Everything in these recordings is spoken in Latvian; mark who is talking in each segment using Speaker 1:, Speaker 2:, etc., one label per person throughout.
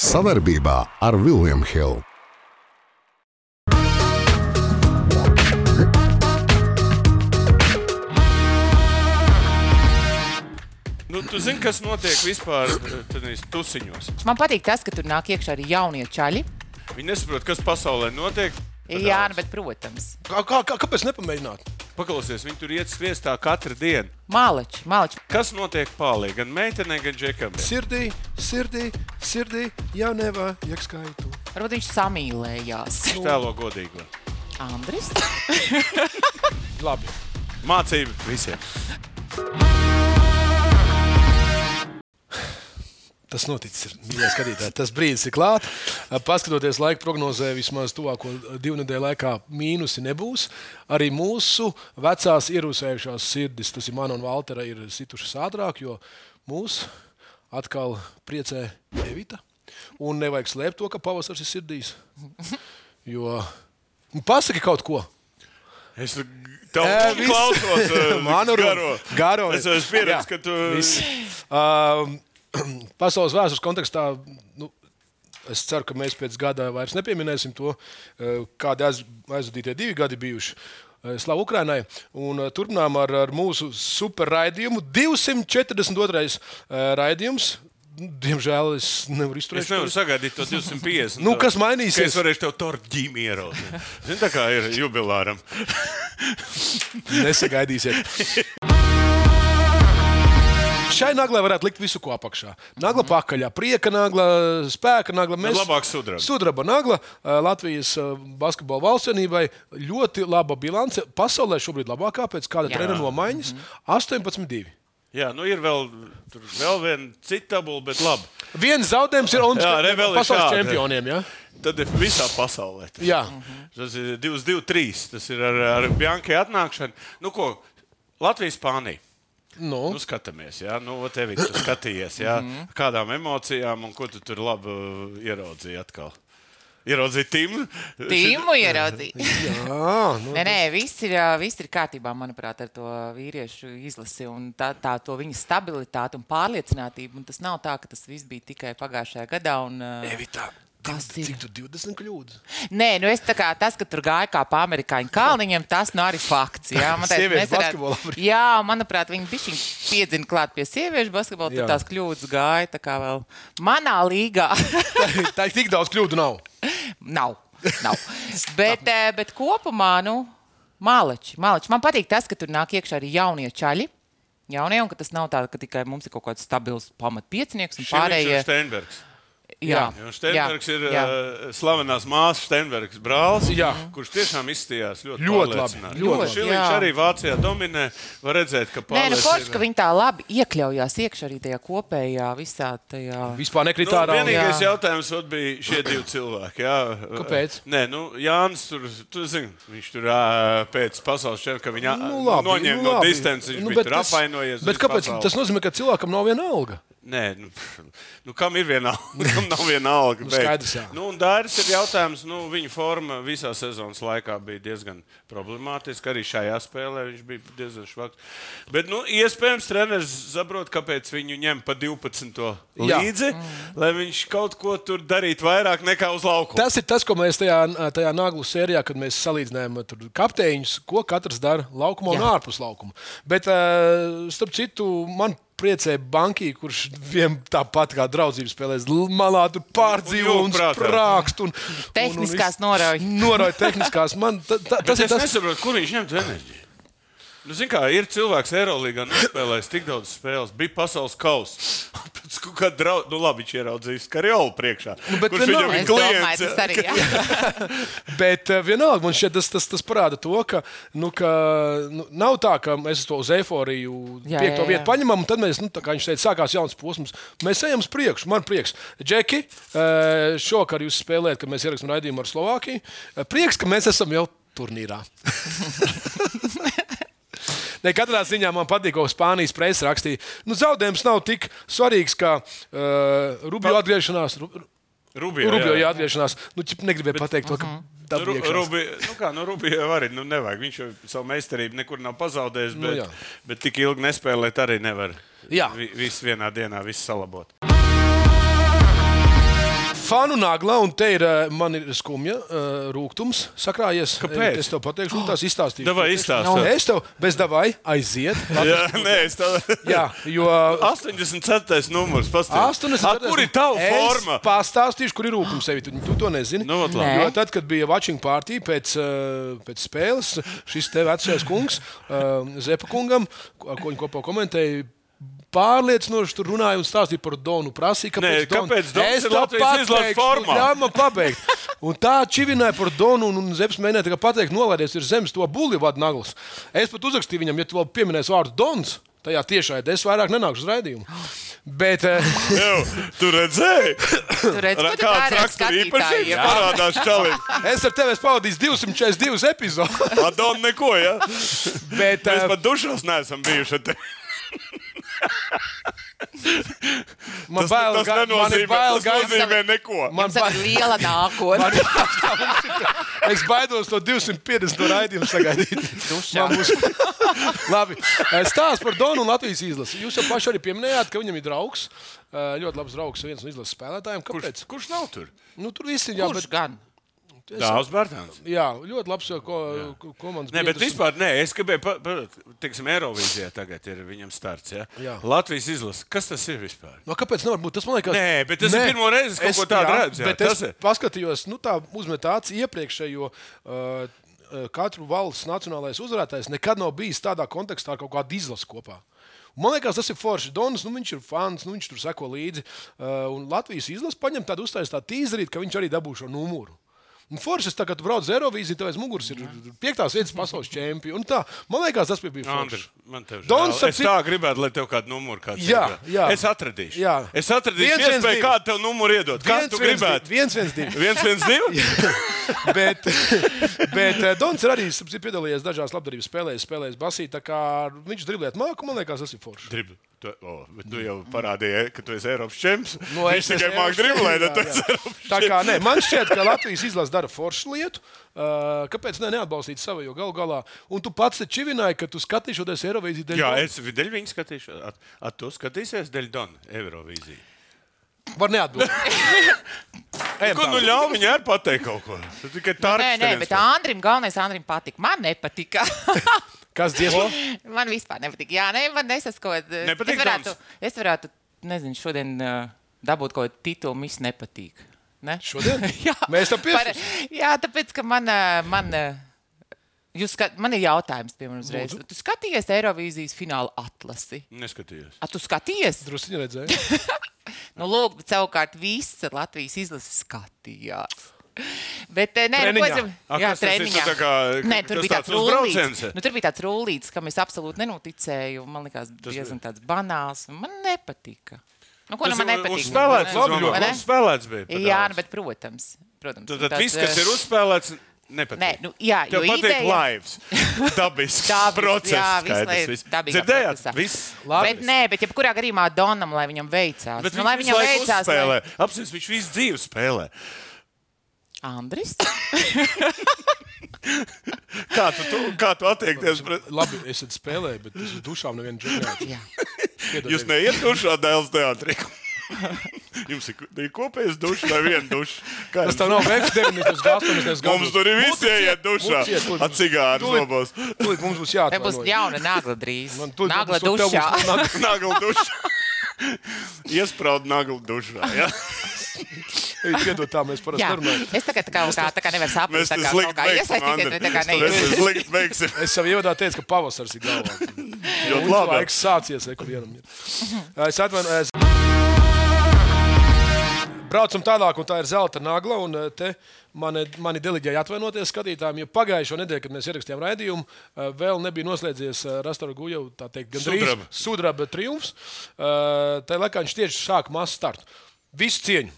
Speaker 1: Savaarbībā ar Vilniem Hilu.
Speaker 2: Nu, tu zini, kas notiek vispār tajos tusiņos.
Speaker 3: Man patīk tas, ka tur nāk iekšā arī jaunie čaļi.
Speaker 2: Viņi nesaprot, kas pasaulē notiek.
Speaker 3: Jā, nu, bet, protams,
Speaker 4: Kā, kā, kā, kāpēc nepamēģināt?
Speaker 2: Paklausies, viņi tur iet sviestā katru dienu.
Speaker 3: mālači, mālači.
Speaker 2: Kas notiek pāri? Gan meitenei, gan džekam.
Speaker 4: Sirdī, sirdī, sirdī, jau nevā, ja skaitu.
Speaker 3: Varbūt viņš samīlējās.
Speaker 2: Viņš tēlo godīgi.
Speaker 3: Andris?
Speaker 4: Labi.
Speaker 2: Mācība visiem.
Speaker 4: Tas noticis, ir, mīļie skatītāji. Tas brīdis ir klāts. Paskatoties laika prognozē, vismaz tuvāko divu nedēļu laikā mīnusi nebūs. Arī mūsu vecās ierūsējušās sirdis, tas ir man un Valtera, ir situšas ātrāk, jo mūs atkal priecē Evita. Un nevajag slēpt to, ka pavasaris ir sirdīs. Jo Nu, pasaki kaut ko.
Speaker 2: Es tev
Speaker 4: Ē, viss.
Speaker 2: klausos, eh,
Speaker 4: Manu
Speaker 2: garo.
Speaker 4: runu. Garo.
Speaker 2: Es esmu pieredzējis,
Speaker 4: Jā,
Speaker 2: ka tu.
Speaker 4: viss. Um, pasaules vēstures kontekstā. Nu, Es ceru, ka mēs pēc gada vairs nepieminēsim to, eh, kādi aiz- aizvadītie divi gadi bijuši eh, Slavu Ukrainai. Un eh, turpinām ar, ar mūsu superraidījumu. 242. eh, raidījums. Diemžēl es nevaru izturēt.
Speaker 2: Es nevaru sagaidīt to 250.
Speaker 4: Nu,
Speaker 2: Ka
Speaker 4: kas
Speaker 2: es
Speaker 4: mainīsies?
Speaker 2: varēšu tev tortu ģīmi ieraudzīt. Zini, tā kā ir jubilāram.
Speaker 4: Nesagaidīsiet. Šai naglai varētu likt visu, ko apakšā. Nagla pakaļā, prieka nagla, spēka nagla. Mēs
Speaker 2: labāk sudraba.
Speaker 4: Sudraba nagla eh, Latvijas eh, basketbola valstsvienībai ļoti laba bilance. Pasaulē šobrīd labākā pēc kāda
Speaker 3: Jā. Mhm.
Speaker 4: treniņa nomaiņas - 18-2.
Speaker 2: Jā, nu ir vēl, tur vēl viena cita tabula, bet labi.
Speaker 4: Viens zaudējums ir Olimpiskā
Speaker 2: Jā, Rebeli
Speaker 4: pasaules
Speaker 2: šādi.
Speaker 4: čempioniem. Ja?
Speaker 2: Tad ir visā pasaulē. tas Mhm.
Speaker 4: Jā.
Speaker 2: Tas ir 2, 2, 3. Tas ir ar, ar Bankai atnākšanu. Nu, ko Latvijas Spānija?
Speaker 4: Nu,
Speaker 2: Nu, skatāmies, jā, nu, ot, Evi, tu skatījies, jā,
Speaker 3: Mhm.
Speaker 2: kādām emocijām un ko tu tur labi uh, ieraudzīji atkal. Ieraudzīji Timu?
Speaker 3: Tīmu ieraudzīja.
Speaker 4: jā, nu,
Speaker 3: Nē, nē, viss ir, ā, viss ir kārtībā, manuprāt, ar to vīriešu izlasi un tā, tā to viņa stabilitāti un pārliecinātību. Un tas nav tā, ka tas viss bija tikai pagājušajā gadā. Un, ā,
Speaker 4: Evita,
Speaker 3: Kas
Speaker 4: div-
Speaker 3: ir?
Speaker 4: Cik tu 20 kļūdas?
Speaker 3: Nē, nu es tā kā tas, ka tur gāja kā pa amerikāņu kalniņiem, tas nu arī fakts. Jā, man teica,
Speaker 4: Sieviešu
Speaker 3: mēs varētu-
Speaker 4: basketbolā var-
Speaker 3: Jā, manuprāt, viņi bišķiņ piedzina klāt pie sieviešu basketbola,
Speaker 4: Jā.
Speaker 3: tad tās kļūdas gāja tā kā vēl manā līgā.
Speaker 4: Tā- Tā ir tik daudz kļūdu nav.
Speaker 3: Nav. nav. bet, eh, bet kopumā, nu, mālači, mālači. Man patīk tas, ka tur nāk iekšā arī jaunie čaļi. Jaunie, un ka tas nav tā, ka tikai mums ir kaut kāds stabils pamatpiecinieks un pārējie.
Speaker 2: Steinbergs.
Speaker 3: Jā,
Speaker 2: Jo Steinbergs ir eh, jā. slavenās māsas Steinbergs brālis,
Speaker 4: Jā.
Speaker 2: kurš tiešām izstījās ļoti,
Speaker 4: Ļoti labi,
Speaker 2: pārliecināti.
Speaker 4: ļoti
Speaker 2: Un
Speaker 3: labi.
Speaker 2: Šiliņš
Speaker 3: Jā.
Speaker 2: arī Vācijā dominē. Var redzēt, ka
Speaker 3: Nē, nu,
Speaker 2: Pāles
Speaker 3: forši, ka viņi tā labi iekļaujās iekšā arī tajā kopējā visā tajā.
Speaker 4: Vispār nekrit
Speaker 2: Nu,
Speaker 4: ārā. un-
Speaker 2: vienīgais jā.
Speaker 3: Jā.
Speaker 2: jautājums ot bija šie divi cilvēki. Jā.
Speaker 4: Kāpēc?
Speaker 2: Nē, nu, Jānis tur, tu zini, viņš tur ā, pēc pasaules čempionāta viņa
Speaker 4: Nu, labi,
Speaker 2: noņēma
Speaker 4: nu,
Speaker 2: no
Speaker 4: labi.
Speaker 2: distances, viņš nu,
Speaker 4: bet
Speaker 2: bija tur
Speaker 4: tas-
Speaker 2: apvainojies.
Speaker 4: Bet
Speaker 2: visu
Speaker 4: kāpēc?
Speaker 2: pasauli.
Speaker 4: Tas nozīmē, ka cilvēkam nav viena alga.
Speaker 2: Nē, nu, pff, nu, kam ir viena alga? Kam nav viena alga?
Speaker 4: Nu,
Speaker 2: bet-
Speaker 4: skaidrs, jā.
Speaker 2: Nu, un Dairis ir jautājums, nu, viņa forma visā sezonas laikā bija diezgan problemātiska. Arī šajā spēlē viņš bija diezgan švaks. Bet, nu, iespējams, treneris saprot, kāpēc viņu ņem pa 12.
Speaker 4: Jā. Mm.
Speaker 2: līdzi, lai viņš kaut ko tur darītu vairāk nekā uz lauka.
Speaker 4: Tas ir tas, ko mēs tajā, tajā naglu sērijā, kad mēs salīdzinājām tur kapteiņus, ko katrs dara laukumā un
Speaker 3: Jā.
Speaker 4: ārpus laukuma. Bet, eh, starp citu, man priecē Banki, kurš vien tāpat kā draudzības spēlēs, l- malā tur pārdzīvo
Speaker 2: Un
Speaker 4: un
Speaker 2: jūg prātā.
Speaker 4: sprākst. Un,
Speaker 2: nu,
Speaker 3: Tehniskās
Speaker 4: un, un viss.
Speaker 3: norauj.
Speaker 4: Norauj tehniskās. Man, ta, ta,
Speaker 2: Bet
Speaker 4: tas ir
Speaker 2: es
Speaker 4: tas,
Speaker 2: nesaprotu, kur viņš ņem to enerģiju. Nu, zin, kā, ir cilvēks, kas Eirolandā nespēlējis tik daudz spēles, bija pasaules kausa. Pēc kaut Kā draudz, nu labi, viņš ieraudzījis karjeru priekšā. Nu,
Speaker 4: bet
Speaker 2: kurš
Speaker 4: vienalga.
Speaker 2: viņam ir
Speaker 3: Es domāju,
Speaker 2: klients?
Speaker 3: tas arī jā.
Speaker 4: Bet eh, vienalga man šķiet, tas, tas, tas parāda to, ka, nu, ka nu, nav tā, ka mēs to uz eifóriju
Speaker 3: Jā, jā,
Speaker 4: piekto
Speaker 3: jā.
Speaker 4: vietu paņemam, un tad mēs, nu, tā kā viņš teica, sākās jauns posms. Mēs ejam uz priekšu, man prieks. Džeki, eh, šovakar jūs spēlējat, kad mēs ierakstām raidījumu ar Slovākiju. Eh, Prieks, ka mēs esam jau turnīrā. Ne, katrā ziņā man patīk, ko Spānijas presa rakstīja. Nu, zaudējums nav tik svarīgs kā uh, Rubio atgriešanās. Ru,
Speaker 2: Rubio,
Speaker 4: Rubio jā, atgriešanās. Nu, ķip, negribēju pateikt to, ka tā
Speaker 2: Nu,
Speaker 4: bija.
Speaker 2: Ru- Rubi, nu kā, nu, Rubio jau arī nu, nevajag. Viņš jau savu meistarību nekur nav pazaudējis,
Speaker 4: Nu,
Speaker 2: bet,
Speaker 4: jā.
Speaker 2: nu, bet tik ilgi nespēlēt arī nevar.
Speaker 4: Jā.
Speaker 2: Vi, viss vienā dienā, viss salabot.
Speaker 4: fanu nagla, un te ir eh, man ir skumja, eh, rūkums sakrājies.
Speaker 2: Kāpēc?
Speaker 4: Es tev pateikšu, un tās izstāstīšu.
Speaker 2: Davai
Speaker 4: Nu,
Speaker 2: izstāstīt.
Speaker 4: Es tev bez davai aiziet.
Speaker 2: Jā, nē, es tādu.
Speaker 4: Jā, jo
Speaker 2: 84. numurs.
Speaker 4: Astoņas
Speaker 2: Pastāstiet, kur ir tava forma?
Speaker 4: Es pastāstīšu, kur ir rūkums sevi. Tu, tu to nezini.
Speaker 2: Nu, vat
Speaker 3: labi.
Speaker 4: jo tad, kad bija watching party pēc, eh, pēc spēles, šis te vecais kungs, eh, Zepa kungam, ko ko viņi kopā komentēja. Pārliecinoši tur runāja un stāstīja par Donu. Prasīja,
Speaker 2: Nē,
Speaker 4: kāpēc, Don-
Speaker 2: kāpēc Dons
Speaker 4: Es
Speaker 2: ir
Speaker 4: to
Speaker 2: Latvijas izlases
Speaker 4: pateikšu,
Speaker 2: formā?
Speaker 4: Jā, man pabeigt. Un tā čivināja par Donu, un, un Zemes mēģināja tā kā pateikt, nolaidies ir zemes to bulvāru naglas. Es pat uzrakstīju viņam, ja tu vēl pieminēsi vārdu Dons. Tajā tiešā veidā es vairāk nenāku uz raidījumu. Bet, eh,
Speaker 2: Jau, tu redzēji,
Speaker 3: Tur redz,
Speaker 2: Ra-
Speaker 3: ko
Speaker 2: kāds
Speaker 3: tu dari ar
Speaker 2: raksturība īpašības
Speaker 3: skatītājiem.
Speaker 2: parādās čalim.
Speaker 4: Es ar tevi esmu pavadījis 242 epizodes.
Speaker 2: Adon neko, ja?
Speaker 4: Bet,
Speaker 2: Mēs
Speaker 4: eh,
Speaker 2: pat dušos neesam bijuši. Te.
Speaker 4: man
Speaker 2: Tas,
Speaker 4: bail,
Speaker 2: tas
Speaker 4: ga- man ir
Speaker 2: nenozīmē,
Speaker 4: bail
Speaker 2: tas
Speaker 4: gaidīt.
Speaker 2: nozīmē neko.
Speaker 4: Man
Speaker 3: Jums ir liela nākotne.
Speaker 4: Es baidos no 250 no raidījuma sagaidīt. Man būs... Labi. Eh, Stāsts par Donu un Latvijas izlasi. Jūs jau paši arī pieminējāt, ka viņam ir draugs. eh, Ļoti labs draugs viens no izlases spēlētājiem. Kāpēc?
Speaker 2: Kurš, kurš nav tur?
Speaker 4: Nu, tur viss ir jā,
Speaker 3: Kurš
Speaker 4: bet,
Speaker 3: gan?
Speaker 2: Dāvs Bērtāns.
Speaker 4: jā, ļoti labs eh, ko, ko- komandas
Speaker 2: Nē, bet
Speaker 4: biedrs.
Speaker 2: vispār nē, es gribēju, pa- pa- teiksim, Eirovīzijā tagad ir viņam starts. Ja?
Speaker 4: Jā.
Speaker 2: Latvijas izlase. Kas tas ir vispār?
Speaker 4: No, Nu, kāpēc nevar būt? Tas man liekas,
Speaker 2: Nē, bet tas ir pirmo reizi, es kaut ko tādu
Speaker 4: jā,
Speaker 2: redzu, jā,
Speaker 4: bet
Speaker 2: tas
Speaker 4: Es
Speaker 2: ir.
Speaker 4: paskatījos, nu tā uzmetāts iepriekšējo. Uh, Katru valsts nacionālais uzvarētājs nekad nav bijis tādā kontekstā ar kaut kādu izlasi kopā. Un Man liekas, tas ir forši. Donis, nu, viņš ir fans, nu, viņš tur seko līdzi. Uh, un Latvijas izlase paņem tādu uztaisītu tādu tīzrīt, ka viņš arī dabūs šo numuru. Un Foršas tagad brauc uz Eirovīziju, tev aiz muguras ir piektās vietas pasaules čempions. Un tā, man liekas, tas bija bijis
Speaker 2: Mm. Andri,
Speaker 4: forši.
Speaker 2: man te ir
Speaker 4: Dons,
Speaker 2: žēl. Es
Speaker 4: ap cik-
Speaker 2: tā gribētu, lai tev kādu numuru kāds
Speaker 4: Jā,
Speaker 2: iedod.
Speaker 4: jā.
Speaker 2: Es atradīšu.
Speaker 4: Jā.
Speaker 2: Es atradīšu
Speaker 4: Viens, viens,
Speaker 2: iespēju,
Speaker 4: divi.
Speaker 2: kādu tev numuru iedot. Kādu tu gribētu?
Speaker 4: 1-1-2.
Speaker 2: 112?
Speaker 4: bet, bet eh, Dons ir arī starp citu, piedalījies dažās labdarības spēlēs, spēlējis basī. tā kā nu, Viņš driblēt māku, man liekas, tas ir forši.
Speaker 2: Dribli. Tu, oh, bet
Speaker 3: Mm.
Speaker 2: tu jau parādīji, ka tu esi Eiropas čempions.
Speaker 4: Nu,
Speaker 2: No,
Speaker 4: es
Speaker 2: Viņš tikai
Speaker 4: esmu
Speaker 2: mākslinieks driblē,
Speaker 4: jā,
Speaker 2: tad tu
Speaker 4: jā.
Speaker 2: esi Eiropas
Speaker 4: Tā kā, nē, man šķiet, ka Latvijas izlase dara foršu lietu. Uh, kāpēc ne, neatbalstīt savu jau galu galā? Un tu pats te čivināji, ka tu skatīšos Eirovīzijas dēļ.
Speaker 2: Jā, es vidēļ viņu skatīšu. At, at tu skatīsies Deļdonu Eirovīziju.
Speaker 4: Var neatbildēt. Ejam
Speaker 2: Ko nu
Speaker 4: tālāk.
Speaker 2: ļauj viņai arī pateikt kaut ko? Tu tikai tā
Speaker 3: Nē, nē, bet Andrim galvenais Andrim patika. Man nepatika.
Speaker 4: Kas dziesma?
Speaker 3: man vispār nepatika. Jā, nē, man nesaskot. eh,
Speaker 2: Nepatīk
Speaker 3: es varētu,
Speaker 2: Dons?
Speaker 3: es varētu, nezinu, šodien uh, dabūt kaut kādu titulu, mis nepatīk. Ne?
Speaker 4: Šodien?
Speaker 3: jā,
Speaker 4: Mēs tam
Speaker 3: Par-
Speaker 4: pieskarsimies.
Speaker 3: Jā, tāpēc, ka man. ā, man ā, Jūs skat, man ir jautājums, piemēram, uzreiz. Tu skaties Eirovīzijas fināla atlasi.
Speaker 2: Neskatījos.
Speaker 3: A, tu skaties?
Speaker 4: Drusciņā redzēju.
Speaker 3: Nu, lūk, bet savukārt visa Latvijas izlase skatījās. Bet, eh, nē,
Speaker 4: Treniņā.
Speaker 3: nu,
Speaker 2: A,
Speaker 3: ko, jā,
Speaker 2: kas tas ir?
Speaker 3: treniņā.
Speaker 2: Tas tā kā-
Speaker 3: nē, tur
Speaker 2: kas
Speaker 3: bija
Speaker 2: tāds
Speaker 3: tāds rullīts.
Speaker 2: uzbrauciens?
Speaker 3: Nu, tur bija tāds rullīts, kam es absolūti nenoticēju. Man liekas, tas diezgan tāds banāls. un Man nepatika. Nu, ko nu man nepatika?
Speaker 2: Uzspēlēts,
Speaker 3: Man-
Speaker 2: labi,
Speaker 3: vai
Speaker 2: ļoti
Speaker 3: ne?
Speaker 2: uzspēlēts bija. pa
Speaker 3: Jā,
Speaker 2: daudz.
Speaker 3: nu, bet, protams. protams
Speaker 2: Tad,
Speaker 3: un
Speaker 2: tad viss, kas
Speaker 3: eh,
Speaker 2: ir uzspēlēts, nepatīk.
Speaker 3: Nē, nu, jā,
Speaker 2: Tev
Speaker 3: jo
Speaker 2: patīk
Speaker 3: ideja-
Speaker 2: laivs. Dabisks
Speaker 3: Dabisks,
Speaker 2: process.
Speaker 3: jā, viss,
Speaker 2: skaidrs,
Speaker 3: lai
Speaker 2: viss.
Speaker 3: dabīgā
Speaker 2: Dzirdējāt?
Speaker 3: procesā.
Speaker 2: Viss.
Speaker 3: Bet, nē, bet jebkurā gadījumā Donam, lai viņam veicās.
Speaker 2: Bet
Speaker 3: nu, lai
Speaker 2: viņš
Speaker 3: viņam
Speaker 2: visu laiku
Speaker 3: veicās,
Speaker 2: spēlē. Apsies, viņš visu dzīvi spēlē.
Speaker 3: Andris.
Speaker 2: Kā tu, tu, kā tu attiekties pret...
Speaker 4: Labi, es esmu spēlējis, bet es uz dušām nevienu džungļu.
Speaker 3: Jā.
Speaker 2: Jūs neiet dušā Dēls teātrī. Jums ir, ir kopējais dušas vai viena duša? Kā
Speaker 4: Tas
Speaker 2: jums-
Speaker 4: tev nav veiks, 98.
Speaker 2: Mums tur ir visi jāiet dušā. Ar cigāru zobos.
Speaker 4: Tūlīt mums būs
Speaker 3: Te būs
Speaker 4: jāatvainojas.
Speaker 3: jauna nagla drīz.
Speaker 4: Man tūlīt
Speaker 3: Nagla
Speaker 4: būs- tev būs
Speaker 3: dušā.
Speaker 4: nagla-
Speaker 2: Nagla dušā. Iesprāud nagla dušā. Ja?
Speaker 4: Ei, Piedod, tā mēs parasti
Speaker 3: Jā,
Speaker 4: nerunājam.
Speaker 3: es tagad tā kā, tā, tā kā nevaru saprast,
Speaker 2: Mēs
Speaker 3: tā
Speaker 2: tam
Speaker 3: kā kaut
Speaker 2: slikti
Speaker 3: kā
Speaker 2: beigsim.
Speaker 3: iesaistīties,
Speaker 2: Andri.
Speaker 3: bet tā kā
Speaker 2: Mēs tam
Speaker 3: neiesaistīties.
Speaker 2: slikti beigsim.
Speaker 4: Es savā ievadā teicu, ka pavasaris ir galvā.
Speaker 2: Ļoti
Speaker 4: Labi,
Speaker 2: labi.
Speaker 4: laiks sācies, re, kur vienam ir.
Speaker 3: Mhm.
Speaker 4: Es atvainojos. Braucam tālāk, un tā ir zelta nagla. un, eh, Te mani, mani deliģēja atvainoties skatītājiem, jo pagājušo nedēļu, kad mēs ierakstījām raidījumu, eh, vēl nebija noslēdzies Rastāra Guja, tā teikt, gandrīz
Speaker 2: Sudraba.
Speaker 4: sudraba triumfs. Eh, Tā laikā viņš tieši sāk masu startu. Visu cieņu!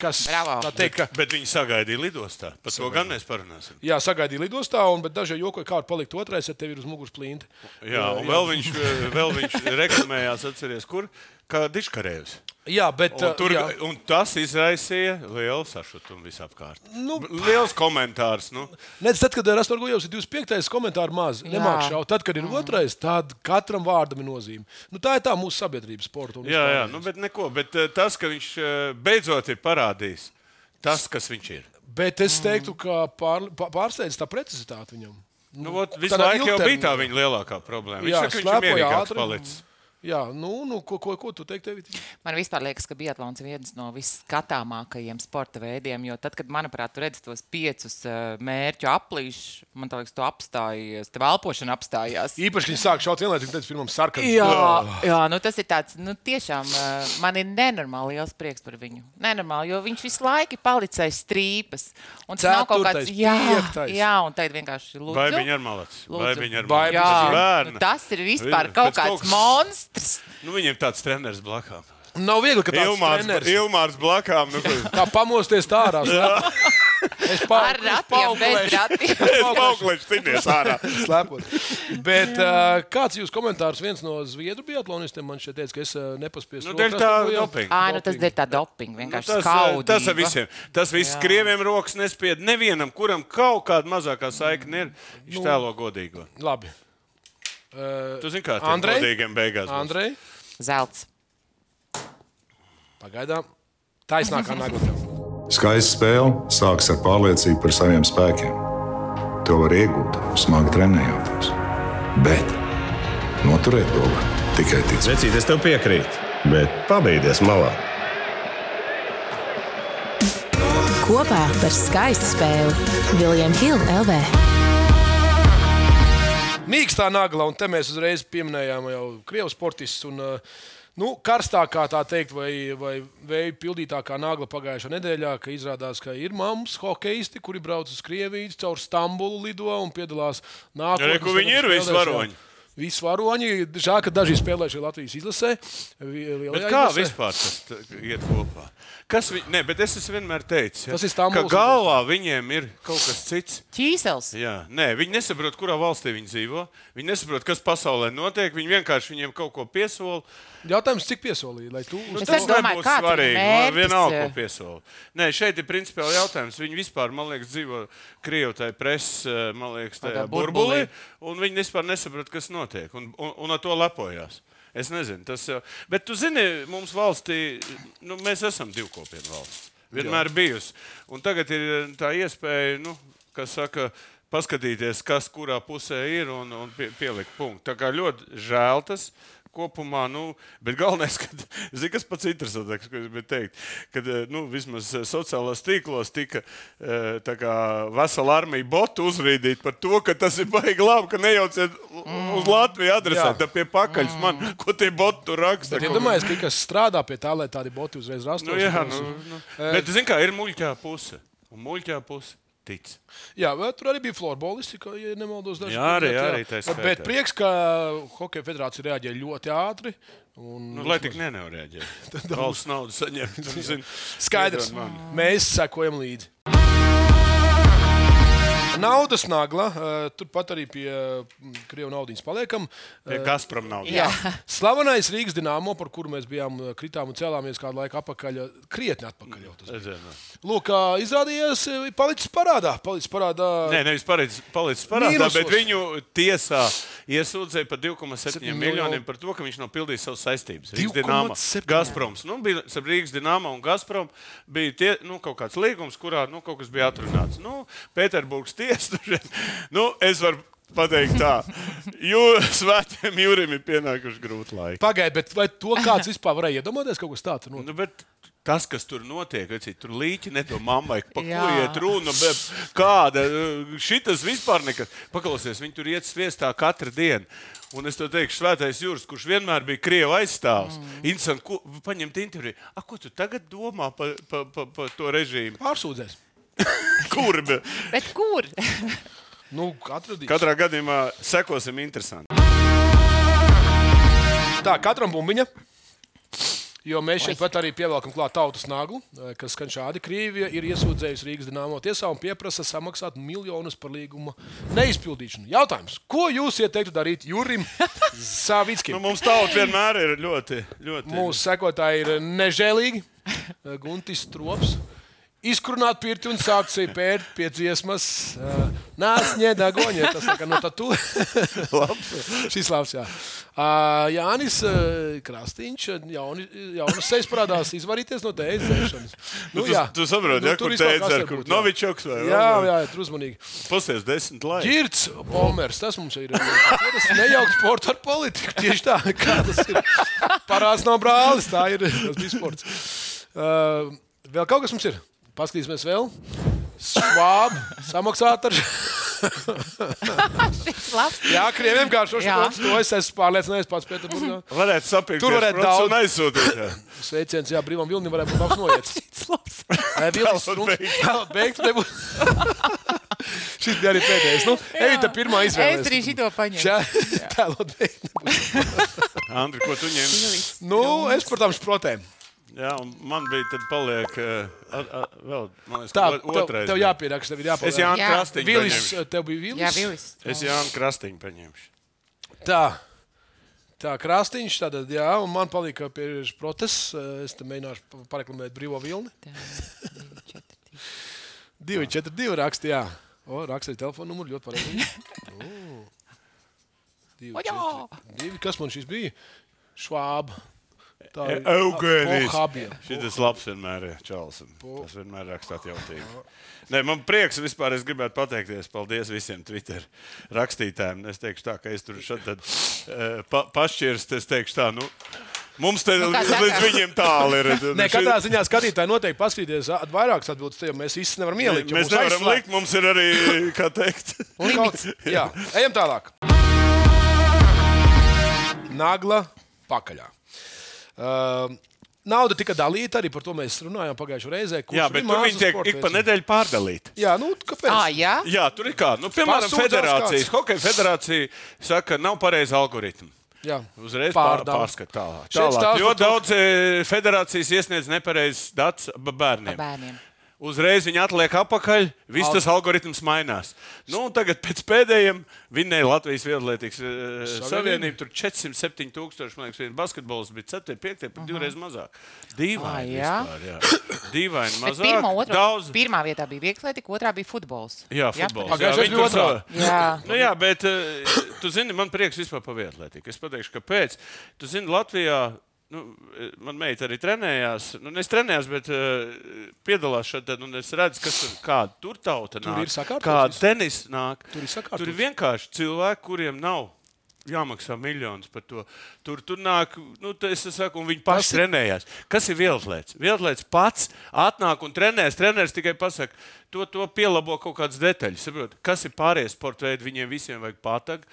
Speaker 4: Kas,
Speaker 3: Bravo.
Speaker 4: tā teikt, ka
Speaker 2: Bet viņi sagaidīja lidostā. Par to gan mēs parunāsim.
Speaker 4: Jā, sagaidīja lidostā, un bet daži jau jokoja, kā var palikt otrais, ja tev ir uz muguras plīnti.
Speaker 2: Jā, un vēl viņš, eh, vēl viņš reklamējās, atcerieties, kur? Kā diškarējus.
Speaker 4: Jā, bet uh,
Speaker 2: Un, tur,
Speaker 4: jā.
Speaker 2: un tas izraisīja lielu sašutumu visapkārt.
Speaker 4: Nu,
Speaker 2: B- Liels komentārs. Nu.
Speaker 4: Nec, tad, kad Rastorgojevs ir 25. komentārs maz,
Speaker 3: Jā.
Speaker 4: nemāk šaut. Tad, kad ir otrais, tad katram vārdam ir nozīme. Nu, tā ir tā mūsu sabiedrības sporta. un
Speaker 2: Jā, jā,
Speaker 4: vispārējais.
Speaker 2: nu, bet neko. Bet eh, tas, ka viņš eh, beidzot ir parādījis, tas, kas viņš ir.
Speaker 4: Bet es teiktu, ka pār, pār- pārsteidz tā precizitāte viņam.
Speaker 2: Nu, ot, visu
Speaker 4: tādā
Speaker 2: laiku jau
Speaker 4: ilgtermiņā.
Speaker 2: bija tā viņa lielākā problēma. Viņš
Speaker 4: Jā,
Speaker 2: saka, ka viņš ir
Speaker 4: slēpoja
Speaker 2: mierīgāks
Speaker 4: ātri.
Speaker 2: palicis.
Speaker 4: Jā, nu, nu ko, ko, ko tu teiksi, Evīt?
Speaker 3: Man vispār liekas, ka biatlons ir viens no visskatāmākajiem sporta veidiem. Jo tad, kad, manuprāt, tu redzi tos piecus eh, mērķu aplīšus, man liekas, tu apstājies, tev elpošana apstājās.
Speaker 4: Īpaši, ka viņš sāk šaut vienlaicīgi, tad pirmam sarkanam.
Speaker 3: Jā, jā nu tas ir tāds, nu tiešām eh, man ir nenormāli liels prieks par viņu. Nenormāli, jo viņš visu laiku ir palicis strīpas. Un tas nav kaut kāds,
Speaker 4: Ceturtais,
Speaker 3: jā,
Speaker 4: piektais.
Speaker 3: jā, un tagad vienkārši lūdzu.
Speaker 2: Vai viņa ir malacis? Vai
Speaker 3: Lūdzu.
Speaker 2: viņa ir
Speaker 4: Vai
Speaker 3: Jā,
Speaker 4: Pēc
Speaker 2: malacis?
Speaker 3: nu, tas ir vispār
Speaker 2: Pēc kaut
Speaker 3: kaut kāds
Speaker 2: kas-
Speaker 3: monstrs.
Speaker 2: Nu, viņam tāds treneris blakām.
Speaker 4: Nav viegli, ka tāds
Speaker 2: Ilmārs,
Speaker 4: treneris.
Speaker 2: Ilmārs blakām. Nu, ko-
Speaker 4: Tā pamosties tā ārā. slēpot. Es pa-
Speaker 3: Ar
Speaker 4: es
Speaker 3: ratiem, bez
Speaker 4: paauglēšu.
Speaker 3: ratiem.
Speaker 2: es pauklešu cīnīties ārā.
Speaker 4: Slēpot. Bet uh, kāds ir jūsu komentārs? Viens no zviedru biatlonistiem man šeit teica, ka es uh, nepaspēju
Speaker 2: Nu, dēļ tā dopinga.
Speaker 3: Ā, nu tas ir tā doping,
Speaker 2: Nu,
Speaker 3: vienkārši
Speaker 2: tas, eh,
Speaker 3: skaudība.
Speaker 2: tas ir visiem. Tas viss
Speaker 3: Jā.
Speaker 2: krieviem rokas nespied. Nevienam, kuram kaut kāda mazākā saikne ir,
Speaker 4: Nu,
Speaker 2: viņš tēlo godīgo.
Speaker 4: Labi. Uh,
Speaker 2: Tu zini, kā tam
Speaker 4: Andrej?
Speaker 2: godīgiem beigās. būs.
Speaker 4: Andrej,
Speaker 3: Zelts.
Speaker 4: pagaidām. Taisnākā nagla.
Speaker 5: Skaista spēle sākas ar pārliecību par saviem spēkiem. To var iegūt, smagi trenējoties. Bet noturēt to var tikai ticēt.
Speaker 6: Vecīt, es tev piekrītu, bet pabeigties malā.
Speaker 7: Kopā par skaistu spēli Viljams Hilde LV.
Speaker 4: Mīkstā nagla, un te mēs uzreiz pieminējām jau krievu sportistus. Un, uh, Nu, karstākā, tā teikt, vai, vai vēja pildītākā nagla pagājušā nedēļā, ka izrādās, ka ir mammas hokeisti, kuri brauc uz Krieviju, caur Stambulu lido un piedalās nākamajā.
Speaker 2: Re, kur viņi ir, visi varoņi?
Speaker 4: Visi varoņi. Žēl, ka daži spēlē šeit Latvijas izlasē.
Speaker 2: Bet kā vispār tas t- iet kopā? Kas viņ... Nē, bet es esmu vienmēr teicis, ja,
Speaker 4: Tas ir Stambuls
Speaker 2: ka galvā viņiem ir kaut kas cits.
Speaker 3: Ķīsels.
Speaker 2: Jā, nē, viņi nesaprot, kurā valstī viņi dzīvo. Viņi nesaprot, kas pasaulē notiek. Viņi vienkārši viņiem kaut ko piesola.
Speaker 4: Jautājums, cik piesolīja, lai
Speaker 2: Nu,
Speaker 4: tu
Speaker 3: Es
Speaker 4: uz
Speaker 3: arī domāju,
Speaker 2: nebūs
Speaker 3: kāds ir
Speaker 2: svarīgi. Man
Speaker 3: mērķis, eh,
Speaker 2: vienalga,
Speaker 3: jā.
Speaker 2: ko piesola. Nē, šeit ir principiāli jautājums. Viņi vispār, man liekas, dzīvo Krievijai preses, eh, man liekas, tajā
Speaker 3: Tādā burbulī.
Speaker 2: burbulī, un viņi vispār nesaprot, kas notiek, un, un, un ar to lepojās. Es nezinu, tas jau. Bet tu zini, mums valstī, nu, mēs esam divkopienu valsts. Vienmēr bijusi. Un tagad ir eh, tā iespēja, nu, kas saka. Paskatīties, kas kurā pusē ir un, un pie, pielikt punktu. Tā kā ļoti žēl tas, Kopumā, nu, bet galvenais, kad, zini, kas pats interesantāks, ko es gribēju teikt, kad eh, nu, vismaz eh, sociālajos tīklos tika eh, tā kā vesela armija botu uzrīdīta par to, ka tas ir baigi labi, ka nejauciet u- uz Latviju adresēt,
Speaker 4: Jā.
Speaker 2: tad pie pakaļas man, ko tie botu tur raksta.
Speaker 4: Bet
Speaker 2: ko-
Speaker 4: iedomājieties, ka kas strādā pie tā, lai tādi boti uzreiz rastos.
Speaker 2: nu, jā, nu, nu. Bet, zini, kā ir muļķā puse. Un muļķā puse tic.
Speaker 4: jā, bet tur arī bija florbolisti, ka, ja nemaldos, daži.
Speaker 2: Jā, arī-
Speaker 4: bija,
Speaker 2: arī tā skaitā.
Speaker 4: Bet prieks, ka Hokeja federācija reaģēja ļoti ātri. Un,
Speaker 2: Nu, lai tik nenoreaģē. Valsts naudu saņemt. un, zini,
Speaker 4: Skaidrs,
Speaker 2: iedod man.
Speaker 4: mēs sekojam līdzi. Naudas nagla, eh, turpat arī pie mm, krievu naudas paliekam.
Speaker 2: Pie Gazprom naudas.
Speaker 3: Jā.
Speaker 4: Slavenais Rīgas dīnāmo, par kuru mēs bijām eh, kritām un cēlāmies kādu laiku atpakaļ, eh, krietni atpakaļ. Jau tas
Speaker 2: Redzēju.
Speaker 4: Lūk, kā izrādījās, ir palicis parādā. Palicis parādā.
Speaker 2: Nē, nevis pareizi palicis parādā,
Speaker 4: Mīnusos.
Speaker 2: bet viņu tiesā iesūdzēja par 2,7
Speaker 4: Septiņi
Speaker 2: miljoniem
Speaker 4: miljoni.
Speaker 2: par to, ka viņš nav pildījis savas saistības.
Speaker 4: 2,7.
Speaker 2: Gazproms. Nu, bija starp Rīgas dīnāma un Gazprom bija tie, nu, kaut kāds līgums, kurā nu, kaut kas bija atrunāts. Nu, Pēterburgas tiesa. tur ir- Nu, es varu pateikt tā, jo svētiem jūrim ir pienākuši grūti laiki.
Speaker 4: Pagaidiet, bet vai to kāds vispār varēja iedomāties, kaut kas tāds? Nu,
Speaker 2: Nu, bet tas, kas tur notiek, ir tur līķi, ne to mammai, pa ko
Speaker 3: Jā.
Speaker 2: iet runa. bet Kāda šitas vispār nekas. Paklausies, viņi tur iet sviestā katru dienu. Un es to teikšu, Svētais Jūras, kurš vienmēr bija krievu aizstāvis. Mm. Interesanti, ko paņemt interviju. A, ko tu tagad domā par pa, pa, pa to režīmu?
Speaker 4: pārsūdzēs.
Speaker 2: Kur? be-
Speaker 3: Bet kur?
Speaker 4: Nu, atradīs.
Speaker 2: Katrā gadījumā sekosim interesanti.
Speaker 4: Tā, katram bumbiņa. Jo mēs šeit pat arī pievelkam klāt tautas nagu, eh, kas skan šādi. Krievija ir iesūdzējusi Rīgas dīnāmo tiesā un pieprasa samaksāt miljonus par līguma neizpildīšanu. Jautājums, ko jūs ieteiktu darīt Jurim Savickim?
Speaker 2: Nu, mums tauta vienmēr ir ļoti, ļoti.
Speaker 4: Mūsu sekotāji ir nežēlīgi. Guntis Strops. Izkrunāt pirti un sākt sevi pērt pie dziesmas. Nāc, ņēda goņa. Tas tā kā no tatu. labs. Šis labs, jā. Ā, Jānis ā, Krastīņš, jauni- jaunas sejas parādās, izvarīties no tēdzēšanas.
Speaker 2: Nu, tu- tu saproti, ja, kur tēdzē, kur Novičoks vai-
Speaker 4: Jā, jā, jā, tur uzmanīgi.
Speaker 2: Pusies desmit laiks.
Speaker 4: Girts, Bomers, tas mums ir. Tas nejauks sports ar politiku. Tieši tā, kā tas ir. Parāds nav brālis, tā ir. Tas bija sports. Uh, vēl kaut kas mums ir. Paskatīsimies vēl. Švāb, samaksāt ar.
Speaker 3: Labi.
Speaker 4: Jā, krieviem vienkārši
Speaker 3: Jā. Mhm.
Speaker 4: šis to es esmu pārliecinājies pats Pēterburgā.
Speaker 2: Varētu sapīt,
Speaker 4: Tur varētu daudz.
Speaker 2: un aizsūtīt. jā.
Speaker 4: Sveiciens, jā, brīvam Vilnim varētu būt labs noiets.
Speaker 3: Šis labs.
Speaker 4: Nē, Vilnis
Speaker 2: Tālāk
Speaker 4: Strunke.
Speaker 2: beigts.
Speaker 4: Tālāk beigts nebūs. Šis bija arī pēdējais. Nu, Evita pirmā izvēle.
Speaker 3: Es arī šito paņēmu.
Speaker 4: Jā, tālāk beigts.
Speaker 2: Andri, ko tu ņem?
Speaker 4: Nu, es par tām sprotēm.
Speaker 2: Jā, un man bija tad paliek eh, ar, ar, vēl, man liekas,
Speaker 4: Tā,
Speaker 2: o-
Speaker 4: tev,
Speaker 2: otrais.
Speaker 4: tev
Speaker 2: bija.
Speaker 4: jāpieraksta, tev ir jāpaliek.
Speaker 2: Es Jānu
Speaker 3: Jā.
Speaker 2: Krastiņu
Speaker 4: Vilis,
Speaker 2: paņemšu.
Speaker 4: tev bija Vilis.
Speaker 3: Jā, Vilis.
Speaker 2: Es Jānu Krastiņu paņemšu.
Speaker 4: Tā. Tā krāstīņš, tad jā, un man palika pie protes. Es te mēģināšu pa- pareklamēt brīvo vilni. 242 raksti, jā. O, rakstīja telefonu numuru ļoti pareizi. O. Divi,
Speaker 3: O, jā!
Speaker 4: četri, divi. Kas man šis bija? Švāba. Tā
Speaker 2: E,
Speaker 4: ir
Speaker 2: Eugēnijas.
Speaker 4: Habija.
Speaker 2: Šis oh, labs vienmēr ir Čāls.
Speaker 4: Oh.
Speaker 2: Tas vienmēr raksta atjautību. Nē, man prieks vispār. Es gribētu pateikties. Paldies visiem Twitter rakstītājiem. Es teikšu tā, ka es tur šad tad eh, pa, pašķirst. Es teikšu tā, nu, mums te
Speaker 3: Nu, kā
Speaker 2: līdz,
Speaker 3: saka.
Speaker 2: līdz viņiem tālu ir.
Speaker 4: Nē, katrā ziņā skatītāji noteikti paskatīties at- vairākas atbildes, jo mēs visi nevaram ielikt. jo
Speaker 2: Mēs
Speaker 4: mūs
Speaker 2: nevaram
Speaker 4: aizslēg.
Speaker 2: likt, mums ir arī, kā teikt,
Speaker 4: Un kaut- Jā, ejam tālāk. Nagla pakaļā. Uh, Nauda tika dalīta, arī par to mēs runājām pagājušajā reizē. kurš
Speaker 2: jā,
Speaker 4: ir
Speaker 2: bet tur
Speaker 4: mākslas
Speaker 2: viņi tiek
Speaker 4: sporta
Speaker 2: ik pa
Speaker 4: veids.
Speaker 2: nedēļu pārdalīti.
Speaker 4: Jā, nu, kāpēc?
Speaker 3: Ah, jā.
Speaker 2: Jā, tur ir kā, nu, piemēram,
Speaker 4: Pasūdzās
Speaker 2: federācijas,
Speaker 4: kāds.
Speaker 2: hokeja federācija saka, nav pareizi algoritmi.
Speaker 4: jā.
Speaker 2: Uzreiz pār,
Speaker 4: Pārdala.
Speaker 2: pārskat tālāk.
Speaker 4: Šeit
Speaker 2: tālāk.
Speaker 4: stāsta
Speaker 2: Jo
Speaker 4: par to-
Speaker 2: daudz e, federācijas iesniedz nepareizs dats b- bērniem.
Speaker 3: Bērniem.
Speaker 2: Uzreiz viņi atliek apakaļ, viss tas algoritms mainās. Nu, un tagad pēc pēdējiem vinnēja Latvijas Viedlietīgas eh, Savienība. Tur 407 tūkstoši, man liekas, viena basketbols bija 4, 5, pat divreiz mazāk. Dīvaini.
Speaker 3: Ā, jā.
Speaker 2: vispār, jā. Dīvaini
Speaker 3: Bet
Speaker 2: mazāk.
Speaker 3: Pirmā, otrā,
Speaker 2: Daudz.
Speaker 3: pirmā vietā bija vieglatlētika, otrā bija futbols.
Speaker 2: Jā, futbols.
Speaker 4: Pagājušais
Speaker 2: viņi tur
Speaker 4: bija otrā.
Speaker 2: savā-
Speaker 3: Jā,
Speaker 2: Nu, jā, bet eh, tu zini, man prieks vispār par vietlietību. Es pateikšu, kāpēc. Tu zini, Latvijā. Nu, eh, man meita arī trenējās. Nu, es trenējos, bet uh, piedalās šeit. tad, Un es redzu, kas tur, kāda tur tauta nāk.
Speaker 4: ir sakārtots
Speaker 2: Kāda
Speaker 4: viss.
Speaker 2: tenis nāk.
Speaker 4: Tur ir sakārtots.
Speaker 2: Tur ir vienkārši cilvēki, kuriem nav. Jāmaksā miljonus par to. Tur, tur nāk, nu, tā es te saku, un viņi paši ir... trenējās. Kas ir vieglatlēts? Vieglatlēts pats atnāk un trenējas. Treneris tikai pasakā, to, to pielabo kaut kādas detaļas. Saprot? Kas ir pārējie sporta veidi? Viņiem visiem vajag patag.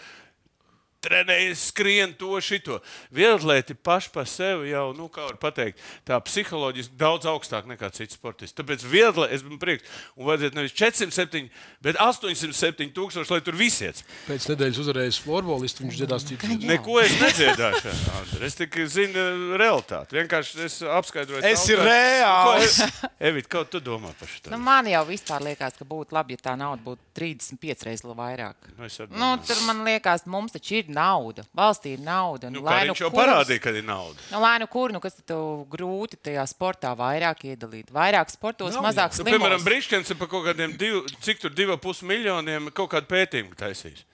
Speaker 2: Trenējas, skrien to, šito. Vieglatlēti paši par sevi jau, nu, kā var teikt, tā psiholoģiski daudz augstāk nekā cits sportists. Tāpēc vieglatlēti, es biju prieks, un vajadzētu nevis 407, bet 807 tūkstoši, lai tur visiet.
Speaker 4: Pēc nedēļas uzvarējis florbolists, viņš dziedās citu.
Speaker 2: Neko es nedziedāšu. Andri. Es tikai zinu eh, realitāti. Vienkārši es apskaidroju.
Speaker 4: Es
Speaker 2: tautai.
Speaker 4: ir reāls.
Speaker 2: Ko- Evit, kā tu domā par šo?
Speaker 3: nu, man jau vispār liekas, ka būtu labi, ja tā nauda būtu 35 reizes vairāk.
Speaker 2: Nu, es arī
Speaker 3: Nu,
Speaker 2: domāju.
Speaker 3: tur man liekas, mums taču ir nauda. Valstī ir nauda.
Speaker 2: Nu,
Speaker 3: Nu,
Speaker 2: kā
Speaker 3: lai nu
Speaker 2: viņš jau
Speaker 3: kurš-
Speaker 2: parādīja, kad ir nauda.
Speaker 3: Nu, lai nu kur, nu, kas tev grūti tajā sportā vairāk iedalīt? Vairāk sportos,
Speaker 4: Nav,
Speaker 3: mazāk
Speaker 2: Nu,
Speaker 3: slimos.
Speaker 2: piemēram, Brīskens ir par kaut kādiem div, cik tur diviem pus miljoniem kaut kādu pētījumu taisījis.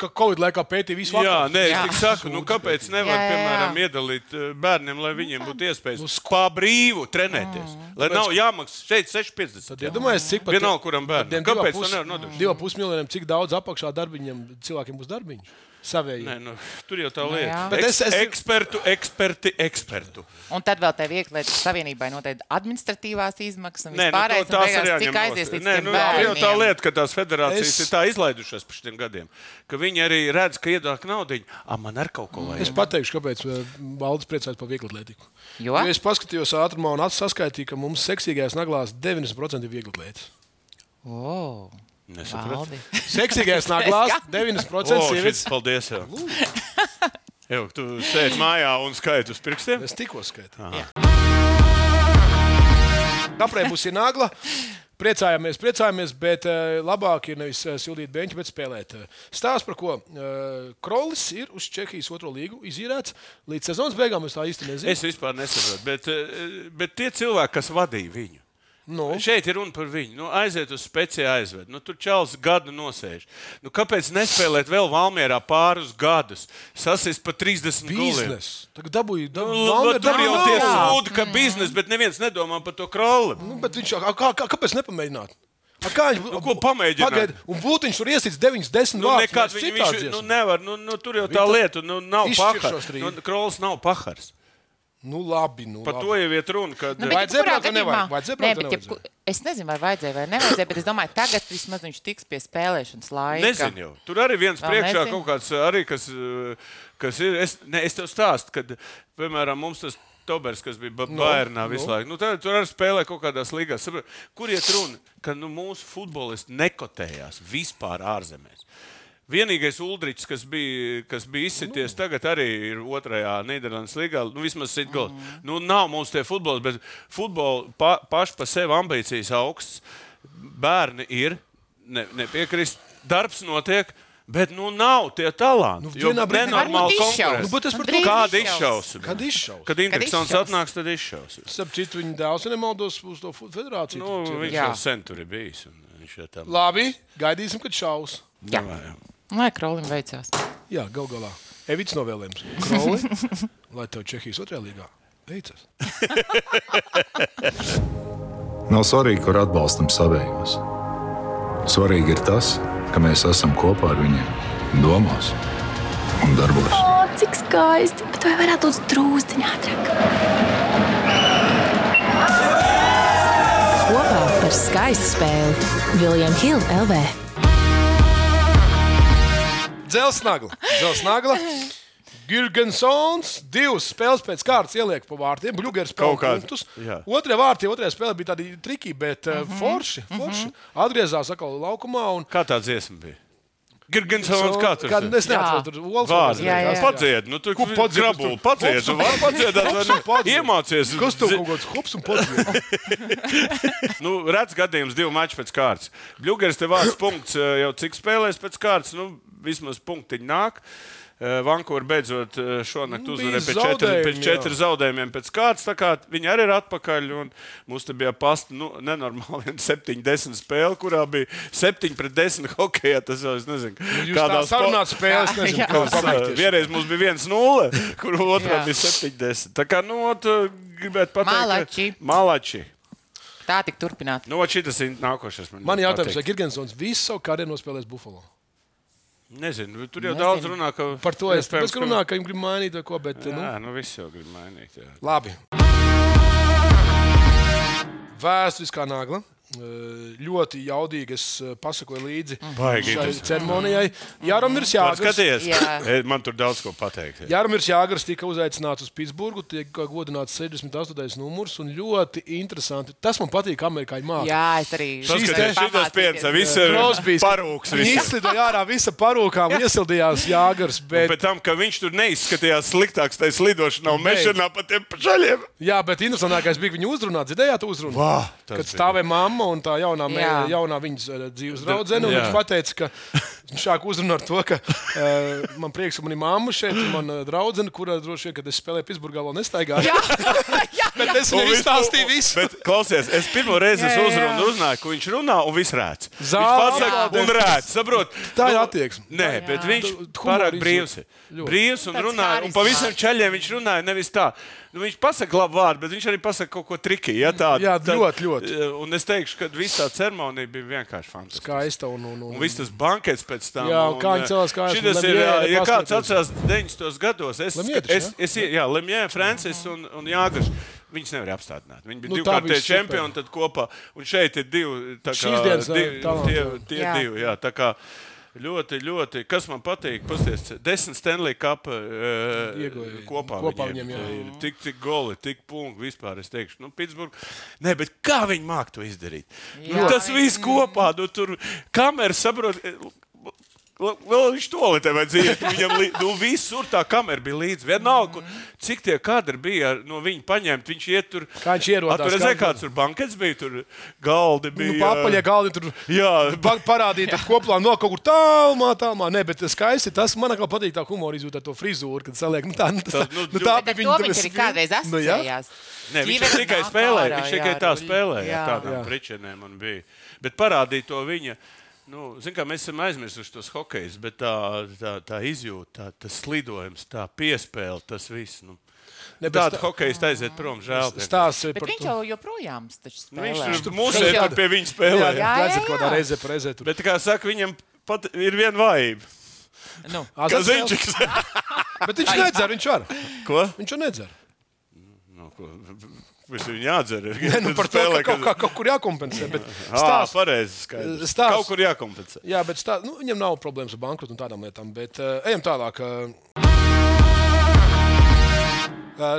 Speaker 4: Ka Covid laikā pētīja visu
Speaker 2: Jā,
Speaker 4: vakaru.
Speaker 2: nē, es
Speaker 3: Jā.
Speaker 2: tikai saku, nu, kāpēc nevar,
Speaker 3: Jā, jā, jā.
Speaker 2: piemēram, iedalīt eh, bērniem, lai viņiem būtu
Speaker 4: Nu,
Speaker 2: iespējas kā brīvu trenēties. Lai nav jāmaksā šeit 6,50.
Speaker 4: Ja domājies, cik pat...
Speaker 2: Vienalga, kuram bērnam. Kāpēc to nevar nodrošināt?
Speaker 4: Divu pusmiljoniem, cik daudz apakšā darbiņiem cilvēkiem būs darbiņš? Savēji.
Speaker 2: Nē, nu, tur jau tā
Speaker 3: jā.
Speaker 2: lieta.
Speaker 4: Bet
Speaker 2: Eks,
Speaker 4: es- es-
Speaker 2: Ekspertu, eksperti, ekspertu.
Speaker 3: Un tad vēl tā vieglietu savienībai noteikti administratīvās izmaksas un
Speaker 2: Nē, nu, to,
Speaker 3: vispārējais. un
Speaker 2: tās
Speaker 3: beigās,
Speaker 2: ir jāņem
Speaker 3: Cik aizies
Speaker 2: nost.
Speaker 3: līdz
Speaker 2: Nē,
Speaker 3: tiem
Speaker 2: nu, tur jau
Speaker 3: bērniem?
Speaker 2: tā lieta, ka tās federācijas es...
Speaker 4: Es-
Speaker 2: ir tā izlaidušās par šiem gadiem, ka viņi arī redz, ka iedāk naudu, ah, man ar kaut ko
Speaker 4: Es
Speaker 2: vajag.
Speaker 4: pateikšu, kāpēc eh, Valdis priecājas par vieglu atlētiku.
Speaker 3: Jo?
Speaker 4: Es paskatījos ātrumā un acis saskaitīju, ka mums seksīgais naglās 90% ir viegli atlētas.
Speaker 3: O,
Speaker 2: Nesapratu.
Speaker 3: Valdi.
Speaker 4: Seksīgais naglās 90%
Speaker 2: O,
Speaker 4: sievietes.
Speaker 2: šis, paldies. Jā. Jau, tu sēdi mājā un skaiti uz pirkstiem.
Speaker 4: Es tikko skaitu.
Speaker 3: Jā.
Speaker 4: Kaprē būs ir nagla. Priecājamies, priecājamies, bet eh, labāk ir nevis eh, sildīt beņķi, bet spēlēt. Eh, Stāsts par ko eh, Krolis ir uz Čehijas otro līgu izīrēts līdz sezonas beigām. Es tā īsti nezinu.
Speaker 2: Es vispār nesaprotu, bet, eh, bet tie cilvēki, kas vadīja viņu.
Speaker 4: Nu,
Speaker 2: Šeit ir runa par viņu. Nu, aiziet uz speciālu aizvedu. Nu, tur čels gadu nosēž. Nu, kāpēc nespēlēt vēl Valmjerā pāris gadus? Sasist pa 30 guliem.
Speaker 4: biznes. Tagad dabūju,
Speaker 2: Nu, nu,
Speaker 4: dabūju, dabūju,
Speaker 2: Tur jau tie
Speaker 4: dabūju.
Speaker 2: sūdi, ka biznesa, bet neviens nedomā par to krauli.
Speaker 4: Nu, bet viņš jau, kā, kā, kāpēc nepamēģināt? A kā viņš
Speaker 2: Nu, ko pamēģināt?
Speaker 4: Pagaid, un būtiņš tur iesits 9, 10
Speaker 2: Nu,
Speaker 4: vārdus.
Speaker 2: nekad
Speaker 4: mēs
Speaker 2: viņi
Speaker 4: citādi
Speaker 2: viņš, nu,
Speaker 4: dziesmu.
Speaker 2: nevar. Nu, nu, tur jau tā
Speaker 4: Viņi
Speaker 2: lieta, nu, nav pahars.
Speaker 4: izšķiršos
Speaker 2: Nu,
Speaker 4: rīt.
Speaker 2: Krols nav pahars.
Speaker 4: Nu, labi, nu,
Speaker 2: Par
Speaker 4: labi.
Speaker 2: to jau iet runa. Kad,
Speaker 3: Nu,
Speaker 2: nu,
Speaker 3: bet
Speaker 4: Vajadzēja
Speaker 3: jebkurā
Speaker 4: braukt vai nevajag?
Speaker 3: gadījumā-
Speaker 4: Vajadzēja
Speaker 3: Nē,
Speaker 4: braukt vai
Speaker 3: bet jebku- Es nezinu, vai vajadzēja vai nevajadzēja, bet es domāju, tagad vismaz viņš tiks pie spēlēšanas laika.
Speaker 2: Nezinu, jau. tur arī viens
Speaker 3: Vēl
Speaker 2: priekšā
Speaker 3: nezinu.
Speaker 2: kaut kāds, arī, kas, eh, kas ir. Es, ne, es tev stāstu, kad, piemēram, mums tas Tobers, kas bija Ba- Bayernā visu laiku, nu, tā, tur arī spēlē kaut kādās līgās. Saprot, Kur iet runa, ka nu, mūsu futbolisti nekotējās vispār ārzemēs? Vienīgais Ulrichs, kas bija, kas bija izsities, tagad arī ir otrajā Nīderlandes līgā. Nu, vismaz sit gols. Mm. Nu, nav mums tie futbolisti, bet futbola pa, paši par sevi ambīcijas augsts. Bērni ir, ne, nepiekrist, darbs notiek. Bet nu nav tie talanti.
Speaker 4: Nu,
Speaker 2: Jo
Speaker 4: vienā brīdī-
Speaker 2: nenormāli
Speaker 3: Varbūt izšaus.
Speaker 2: konkurence.
Speaker 4: Nu, bet es par to-
Speaker 3: Drīz
Speaker 2: Kāda
Speaker 3: izšaus.
Speaker 2: izšausme?
Speaker 4: Kad izšaus?
Speaker 2: Kad interesants
Speaker 3: izšaus.
Speaker 2: atnāks, tad izšaus.
Speaker 4: Starp citu, viņa dēls, ja nemaldos, uz to fu- federāciju.
Speaker 2: Nu,
Speaker 4: tur
Speaker 2: viņš
Speaker 4: ir.
Speaker 3: Jā.
Speaker 2: jau sen tur ir bijis. un Viņš jau tam
Speaker 4: Labi, gaidīsim, kad šaus.
Speaker 2: labāk.
Speaker 3: Lai Krolim veicās.
Speaker 4: Jā, gal galā. Evits novēlējums. Kroli, lai tev Čehijas otrajā līgā veicas.
Speaker 5: Nav svarīgi, kur atbalstam savējos. Svarīgi ir tas, ka mēs esam kopā ar viņiem, domās un darbos.
Speaker 8: O, cik skaisti, bet vai varētu būt drūzdiņā ātrāk?
Speaker 7: Kopā par skaistu spēli Viljams Hilde LV.
Speaker 4: Dzelsnagla. Dzelsnagla. Girgensons divas spēles pēc kārtas ieliek pa vārtiem. Bluegers
Speaker 2: Kaut
Speaker 4: pelna
Speaker 2: kāds,
Speaker 4: punktus.
Speaker 2: jā.
Speaker 4: Otrajā vārtī, otrajā spēlē bija tādi triki, bet mm
Speaker 3: Mhm.
Speaker 4: -hmm. forši. forši. Mm -hmm. Atgriezās atkal laukumā un
Speaker 2: Kā tā dziesma bija? Girgensons, kā tur
Speaker 4: Kad es neatceros,
Speaker 3: Jā.
Speaker 4: tur bija
Speaker 2: Vārds.
Speaker 3: Jā, jā, jā.
Speaker 2: Padzied, nu tu
Speaker 4: Ko padzied?
Speaker 2: grabuli,
Speaker 4: Kas tur-
Speaker 2: padzied,
Speaker 4: Koks
Speaker 2: nu
Speaker 4: un-
Speaker 2: var padziedāt, vai
Speaker 4: Koks un
Speaker 2: nu
Speaker 4: padzied.
Speaker 2: iemācies.
Speaker 4: Kas tur
Speaker 2: dzi-
Speaker 4: kaut kāds hops un pats?
Speaker 2: Nu, redz, gadījums divu maču pēc kārtas. Bluegers te vārds punkts eh, jau cik spēlēs pēc kārtas, nu, vismaz punktiņi nāk. Vankūver beidzot eh, šonakt
Speaker 4: Nu,
Speaker 2: uzvarēja
Speaker 4: bija
Speaker 2: pēc četriem, pēc
Speaker 4: zaudējumi,
Speaker 2: četriem zaudējumiem pēc kārtas. tā kā Viņi arī ir atpakaļ. un Mums te bija pasta nu, nenormāli 7-10 spēle, kurā bija 7-10 hokeja. Tas jau es nezinu,
Speaker 4: Nu, Jūs tādā
Speaker 2: spo-
Speaker 4: sarunā spēlēs, nezinu,
Speaker 3: Jā.
Speaker 4: kā
Speaker 2: Tas, eh,
Speaker 4: pabeigties.
Speaker 2: Vienreiz mums bija 1-0, kur otrā
Speaker 3: Jā.
Speaker 2: bija 70. Tā kā, nu, ot, eh, gribētu pateikt,
Speaker 3: Malači.
Speaker 2: ka- Malači.
Speaker 3: Tā tik turpināt.
Speaker 2: Nu, ot, šitas ir nākošais. Man,
Speaker 4: Man ir
Speaker 2: ļoti
Speaker 4: jautājums, vai
Speaker 2: patīk.
Speaker 4: Girgensons visu savu karjeru nospēlēs Buffalo?
Speaker 2: Nezinu, tur jau
Speaker 3: Nezinu.
Speaker 2: daudz runā, ka.
Speaker 4: Par to es
Speaker 2: iespējams,
Speaker 4: pēc runāju, ka viņam grib mainīt vai ko, bet
Speaker 2: ka-
Speaker 4: nu,
Speaker 2: Jā, nu viss jau grib mainīt. Jā.
Speaker 4: Labi. Vēsturiskā nagla. Eh, Ļoti jaudīgi es eh, pasakoju līdzi
Speaker 2: Baigi
Speaker 4: šai
Speaker 2: interesanti.
Speaker 4: ceremonijai. Jāramis Jāgars.
Speaker 2: Skaties,
Speaker 3: Jā.
Speaker 2: e, man tur daudz ko pateikt. Jā.
Speaker 4: Jāramis Jāgars tika uzaicināts uz Pitsburgu, tiek godināts 68. numurs un ļoti interesanti. Tas man patīk, amerikāņi māca.
Speaker 3: Jā, es arī.
Speaker 2: Tas,
Speaker 4: Šīs
Speaker 2: ka
Speaker 4: te-
Speaker 2: te šitās piens, viss ir
Speaker 4: Krosbīs.
Speaker 2: parūks.
Speaker 4: Viņi
Speaker 2: visiem.
Speaker 4: izslidoja ārā visa parūkā un iesildījās Jāgars.
Speaker 2: Un
Speaker 4: Bet,
Speaker 2: Pēc tam, ka viņš tur neizskatījās sliktāks, tai slidošanā un
Speaker 4: Beidz.
Speaker 2: mešanā pa tiem pašaļiem.
Speaker 4: jā, bet interesantākais bija viņa uzrunā. Dzirdējāt, uzrunā?
Speaker 2: Vā, Ah, tas
Speaker 4: Kad
Speaker 2: bija.
Speaker 4: stāvēja mamma un tā jaunā, me,
Speaker 3: Jā.
Speaker 4: jaunā viņas eh, dzīves draudzene. un
Speaker 2: jā.
Speaker 4: Viņš teica, ka viņš sāk uzrunāt ar to, ka uh, man prieks, ka man ir mamma šeit, un man ir draudzene, kura droši vien, kad es spēlēju Pitsburgā, vēl nestaigāju. Jā, jā, bet es
Speaker 2: Un
Speaker 4: viņai
Speaker 2: viss-
Speaker 4: izstāstīju
Speaker 2: un- un-
Speaker 4: visu.
Speaker 2: Bet, klausies, es pirmo reizi
Speaker 3: Jā, jā, jā.
Speaker 2: uzrunu, uzrunāju, ko viņš runā, un viss rēc. Viņš
Speaker 4: Zāle.
Speaker 2: pasaka, un rēc. Saprot,
Speaker 4: Tā ir
Speaker 2: Nu,
Speaker 4: attieksme.
Speaker 2: Nē, bet viņš
Speaker 4: Tu- tu
Speaker 2: pārāk
Speaker 4: humorizu.
Speaker 2: brīvs. ir.
Speaker 4: Ļoti.
Speaker 2: Brīvs un
Speaker 3: Tāds
Speaker 2: runāja, un
Speaker 3: harizmātisks.
Speaker 2: pa visiem ceļiem viņš runāja nevis tā. Nu, viņš pasaka labu vārdu, bet viņš arī pasaka kaut ko triki. Ja, tā,
Speaker 4: Jā,
Speaker 2: tā-
Speaker 4: ļoti, ļoti.
Speaker 2: Un es teikšu, ka viss tā ceremonija bija vienkārši fantastiska.
Speaker 4: Skaista un, un, un,
Speaker 2: Un viss tas bankets pēc tam.
Speaker 4: Jā,
Speaker 2: un,
Speaker 4: kā viņi celās kājās,
Speaker 2: Šitas
Speaker 4: un
Speaker 2: ir, jā,
Speaker 4: Lemjē,
Speaker 2: ja kāds
Speaker 4: paskatās.
Speaker 2: atcerās 90. gados, es,
Speaker 4: Lemjē taču,
Speaker 2: es, es, jā, Lemjē, Francis un, un Jāgars. Viņus nevar apstādināt. Viņi bija
Speaker 4: Nu,
Speaker 2: nu,
Speaker 4: tā
Speaker 2: divkārtie
Speaker 4: bija super.
Speaker 2: čempioni, tad kopā. Un šeit ir divi. tā Kā,
Speaker 4: Šīs dienas,
Speaker 2: divi,
Speaker 4: ā, talanti,
Speaker 2: tie,
Speaker 4: jā.
Speaker 2: tie
Speaker 3: Jā.
Speaker 2: divi. Jā, tā kā ļoti, ļoti. Kas man patīk? Pasties, desmit Stanley Cup uh,
Speaker 4: Ieguvēji.
Speaker 2: kopā.
Speaker 4: Kopā
Speaker 2: viņiem,
Speaker 4: viņiem, jā.
Speaker 2: ir. Tik, tik goli, tik punkti vispār. Es teikšu, nu, Pitsburgā. Nē, bet kā viņi māca to izdarīt? Nu,
Speaker 3: Jā.
Speaker 2: tas viss kopā, nu, tur kameras saprot. eh, L- Vēl viņš to lietu vajadzēja. iet, Viņam lī... nu, visur tā kamera bija līdzi. Vienalga, kur- cik tie kadri bija ar- no viņa paņemti. Viņš iet tur.
Speaker 4: Kā viņš ierodās
Speaker 2: Tur redzēja,
Speaker 4: kadrā?
Speaker 2: kāds tur bankets bija, tur galdi bija. eh,
Speaker 4: Nu, Papaļā galdi tur
Speaker 2: Jā.
Speaker 4: pa- parādīja, tur koplā no kaut kur tālumā, tālumā. Nē, bet tas skaisti. Tas man kā patīk tā humora izjūta ar to frizūru, kad saliek. Nu, tā, nu, tas,
Speaker 2: Tad, nu,
Speaker 4: nu, tā
Speaker 3: Bet ar to
Speaker 4: bija viņa
Speaker 3: viņš arī kādreiz
Speaker 4: Nu, jā.
Speaker 3: asociējās.
Speaker 2: Nē, viņš
Speaker 3: Ģimene
Speaker 2: jau tikai
Speaker 3: nāk
Speaker 2: spēlēja.
Speaker 3: ārā,
Speaker 2: Viņš tikai
Speaker 3: jā,
Speaker 2: tā
Speaker 3: ruļ.
Speaker 2: spēlēja.
Speaker 3: Jā.
Speaker 2: ar Tādām jā. pričinēm man bija. Bet parādīja to viņa. Nu, zin, kā, mēs esam aizmirsuši tos hockeys, bet tā, tā, tā izjūta, tā, tas slidojums, tā piespēle, tas viss. Nu.
Speaker 4: Ne, bet
Speaker 2: Tāda
Speaker 4: stā-
Speaker 2: hokeja aiziet prom, žēl.
Speaker 4: Stāsts ir
Speaker 3: Bet
Speaker 4: par
Speaker 3: viņš
Speaker 4: to.
Speaker 3: jau joprojām taču
Speaker 2: Nu, viņš
Speaker 3: spēlē.
Speaker 2: tur
Speaker 4: Viņš
Speaker 2: mūsu
Speaker 4: jau-
Speaker 2: gājā pie viņa spēlē. Jā, jā.
Speaker 4: Jā,
Speaker 3: jā,
Speaker 4: jā, jā.
Speaker 3: jā.
Speaker 4: Kādā reizē, pa reizē tur.
Speaker 2: Bet, kā saka, viņam pat ir viena vājība.
Speaker 3: Nu,
Speaker 4: Azartspēles-
Speaker 2: Kaziņķis.
Speaker 4: Bet viņš nedzer, viņš var.
Speaker 2: Ko?
Speaker 4: Viņš jau nedzer.
Speaker 2: Nu, ko? Viņš viņu jādzer.
Speaker 4: Nē, nu, par to, ka kaut, kā, kaut kur jākompensē. Bet
Speaker 2: Stāsts
Speaker 4: stāsts
Speaker 2: pareizi. skaidrs.
Speaker 4: Stāsts.
Speaker 2: Kaut kur jākompensē.
Speaker 4: Jā, bet tā, nu, viņam nav problēmas ar bankrotu un tādām lietām. Bet uh, ejam tālāk. Uh,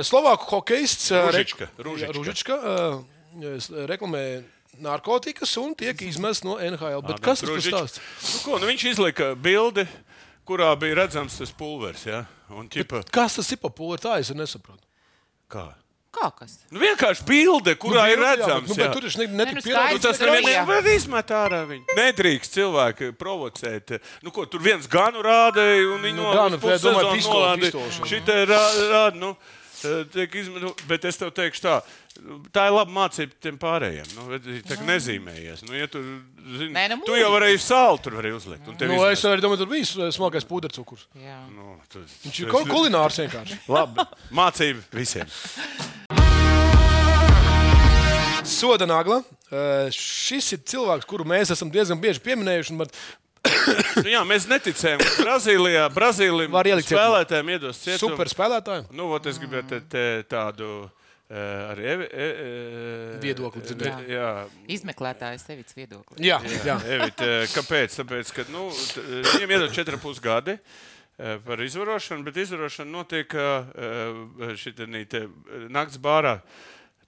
Speaker 4: Slovāku hokeists uh,
Speaker 2: Ružička, Ružička.
Speaker 4: Ružička uh, es- reklamē narkotikas un tiek izmests no NHL. Bet kas tas par
Speaker 2: Rožič.
Speaker 4: stāsts?
Speaker 2: Nu, ko, nu, viņš izlika bildi, kurā bija redzams tas pulvers. Ja? Un, ķipa,
Speaker 4: Kas tas ir par pūli? Tā es nesaprotu.
Speaker 2: kā?
Speaker 3: kā kas?
Speaker 2: Nu, vienkārši bilde, kurā nu, ir
Speaker 4: Jā,
Speaker 2: redzams.
Speaker 4: bet, nu, bet tur taču ne,
Speaker 3: Nē, nu,
Speaker 4: netika
Speaker 2: Nu,
Speaker 4: pierādīts.
Speaker 2: tas
Speaker 3: Aizsver
Speaker 2: nevienam
Speaker 3: rojā.
Speaker 2: nevar izmet ārā viņu. Nedrīkst cilvēki provocēt. Nu, ko, tur viens ganu rādīja, un viņi
Speaker 4: Nu,
Speaker 2: nu,
Speaker 4: ganu,
Speaker 2: no puses
Speaker 4: domāju,
Speaker 2: sezonas
Speaker 4: pistoli,
Speaker 2: nolādīja.
Speaker 4: pistoli šeit.
Speaker 2: Šitā rāda, nu, eh, tiek izmanto, bet es tev teikšu tā. Tā ir laba mācība tiem pārējiem. Nu, bet tā kā nezīmējies. Nu, ja tu, zini,
Speaker 3: Mm. Nē, nu,
Speaker 2: tu jau
Speaker 3: mūžīgi.
Speaker 2: varēji sāli tur arī uzlikt. un tev
Speaker 4: Nu,
Speaker 2: izmet.
Speaker 4: es arī domāju, tur bija smalkais pūdercukurs.
Speaker 3: Jā.
Speaker 2: Nu, tas,
Speaker 4: Viņš ir kaut kulinārs vienkārši.
Speaker 2: Labi, mācība visiem.
Speaker 4: Soda nagla. Eh, Šis ir cilvēks, kuru mēs esam diezgan bieži pieminējuši. un man-
Speaker 2: Nu, jā, mēs neticējām, ka Brazīlijā Brazīlijam
Speaker 4: Var ielikt cietumā.
Speaker 2: spēlētājiem iedos cietumu.
Speaker 4: Super spēlētājs.
Speaker 2: Nu, ot, es gribēju te, te, tādu eh, arī evi, e, e,
Speaker 4: Viedokli dzirdēt.
Speaker 2: e, Jā,
Speaker 3: Izmeklētājs sevis viedoklis.
Speaker 4: Jā, jā.
Speaker 2: Evit, eh, kāpēc? Tāpēc, ka nu, t- eh, viņam iedod 4,5 gadi. eh, Par izvarošanu, bet izvarošana notiek e, šitā naktas e, bārā.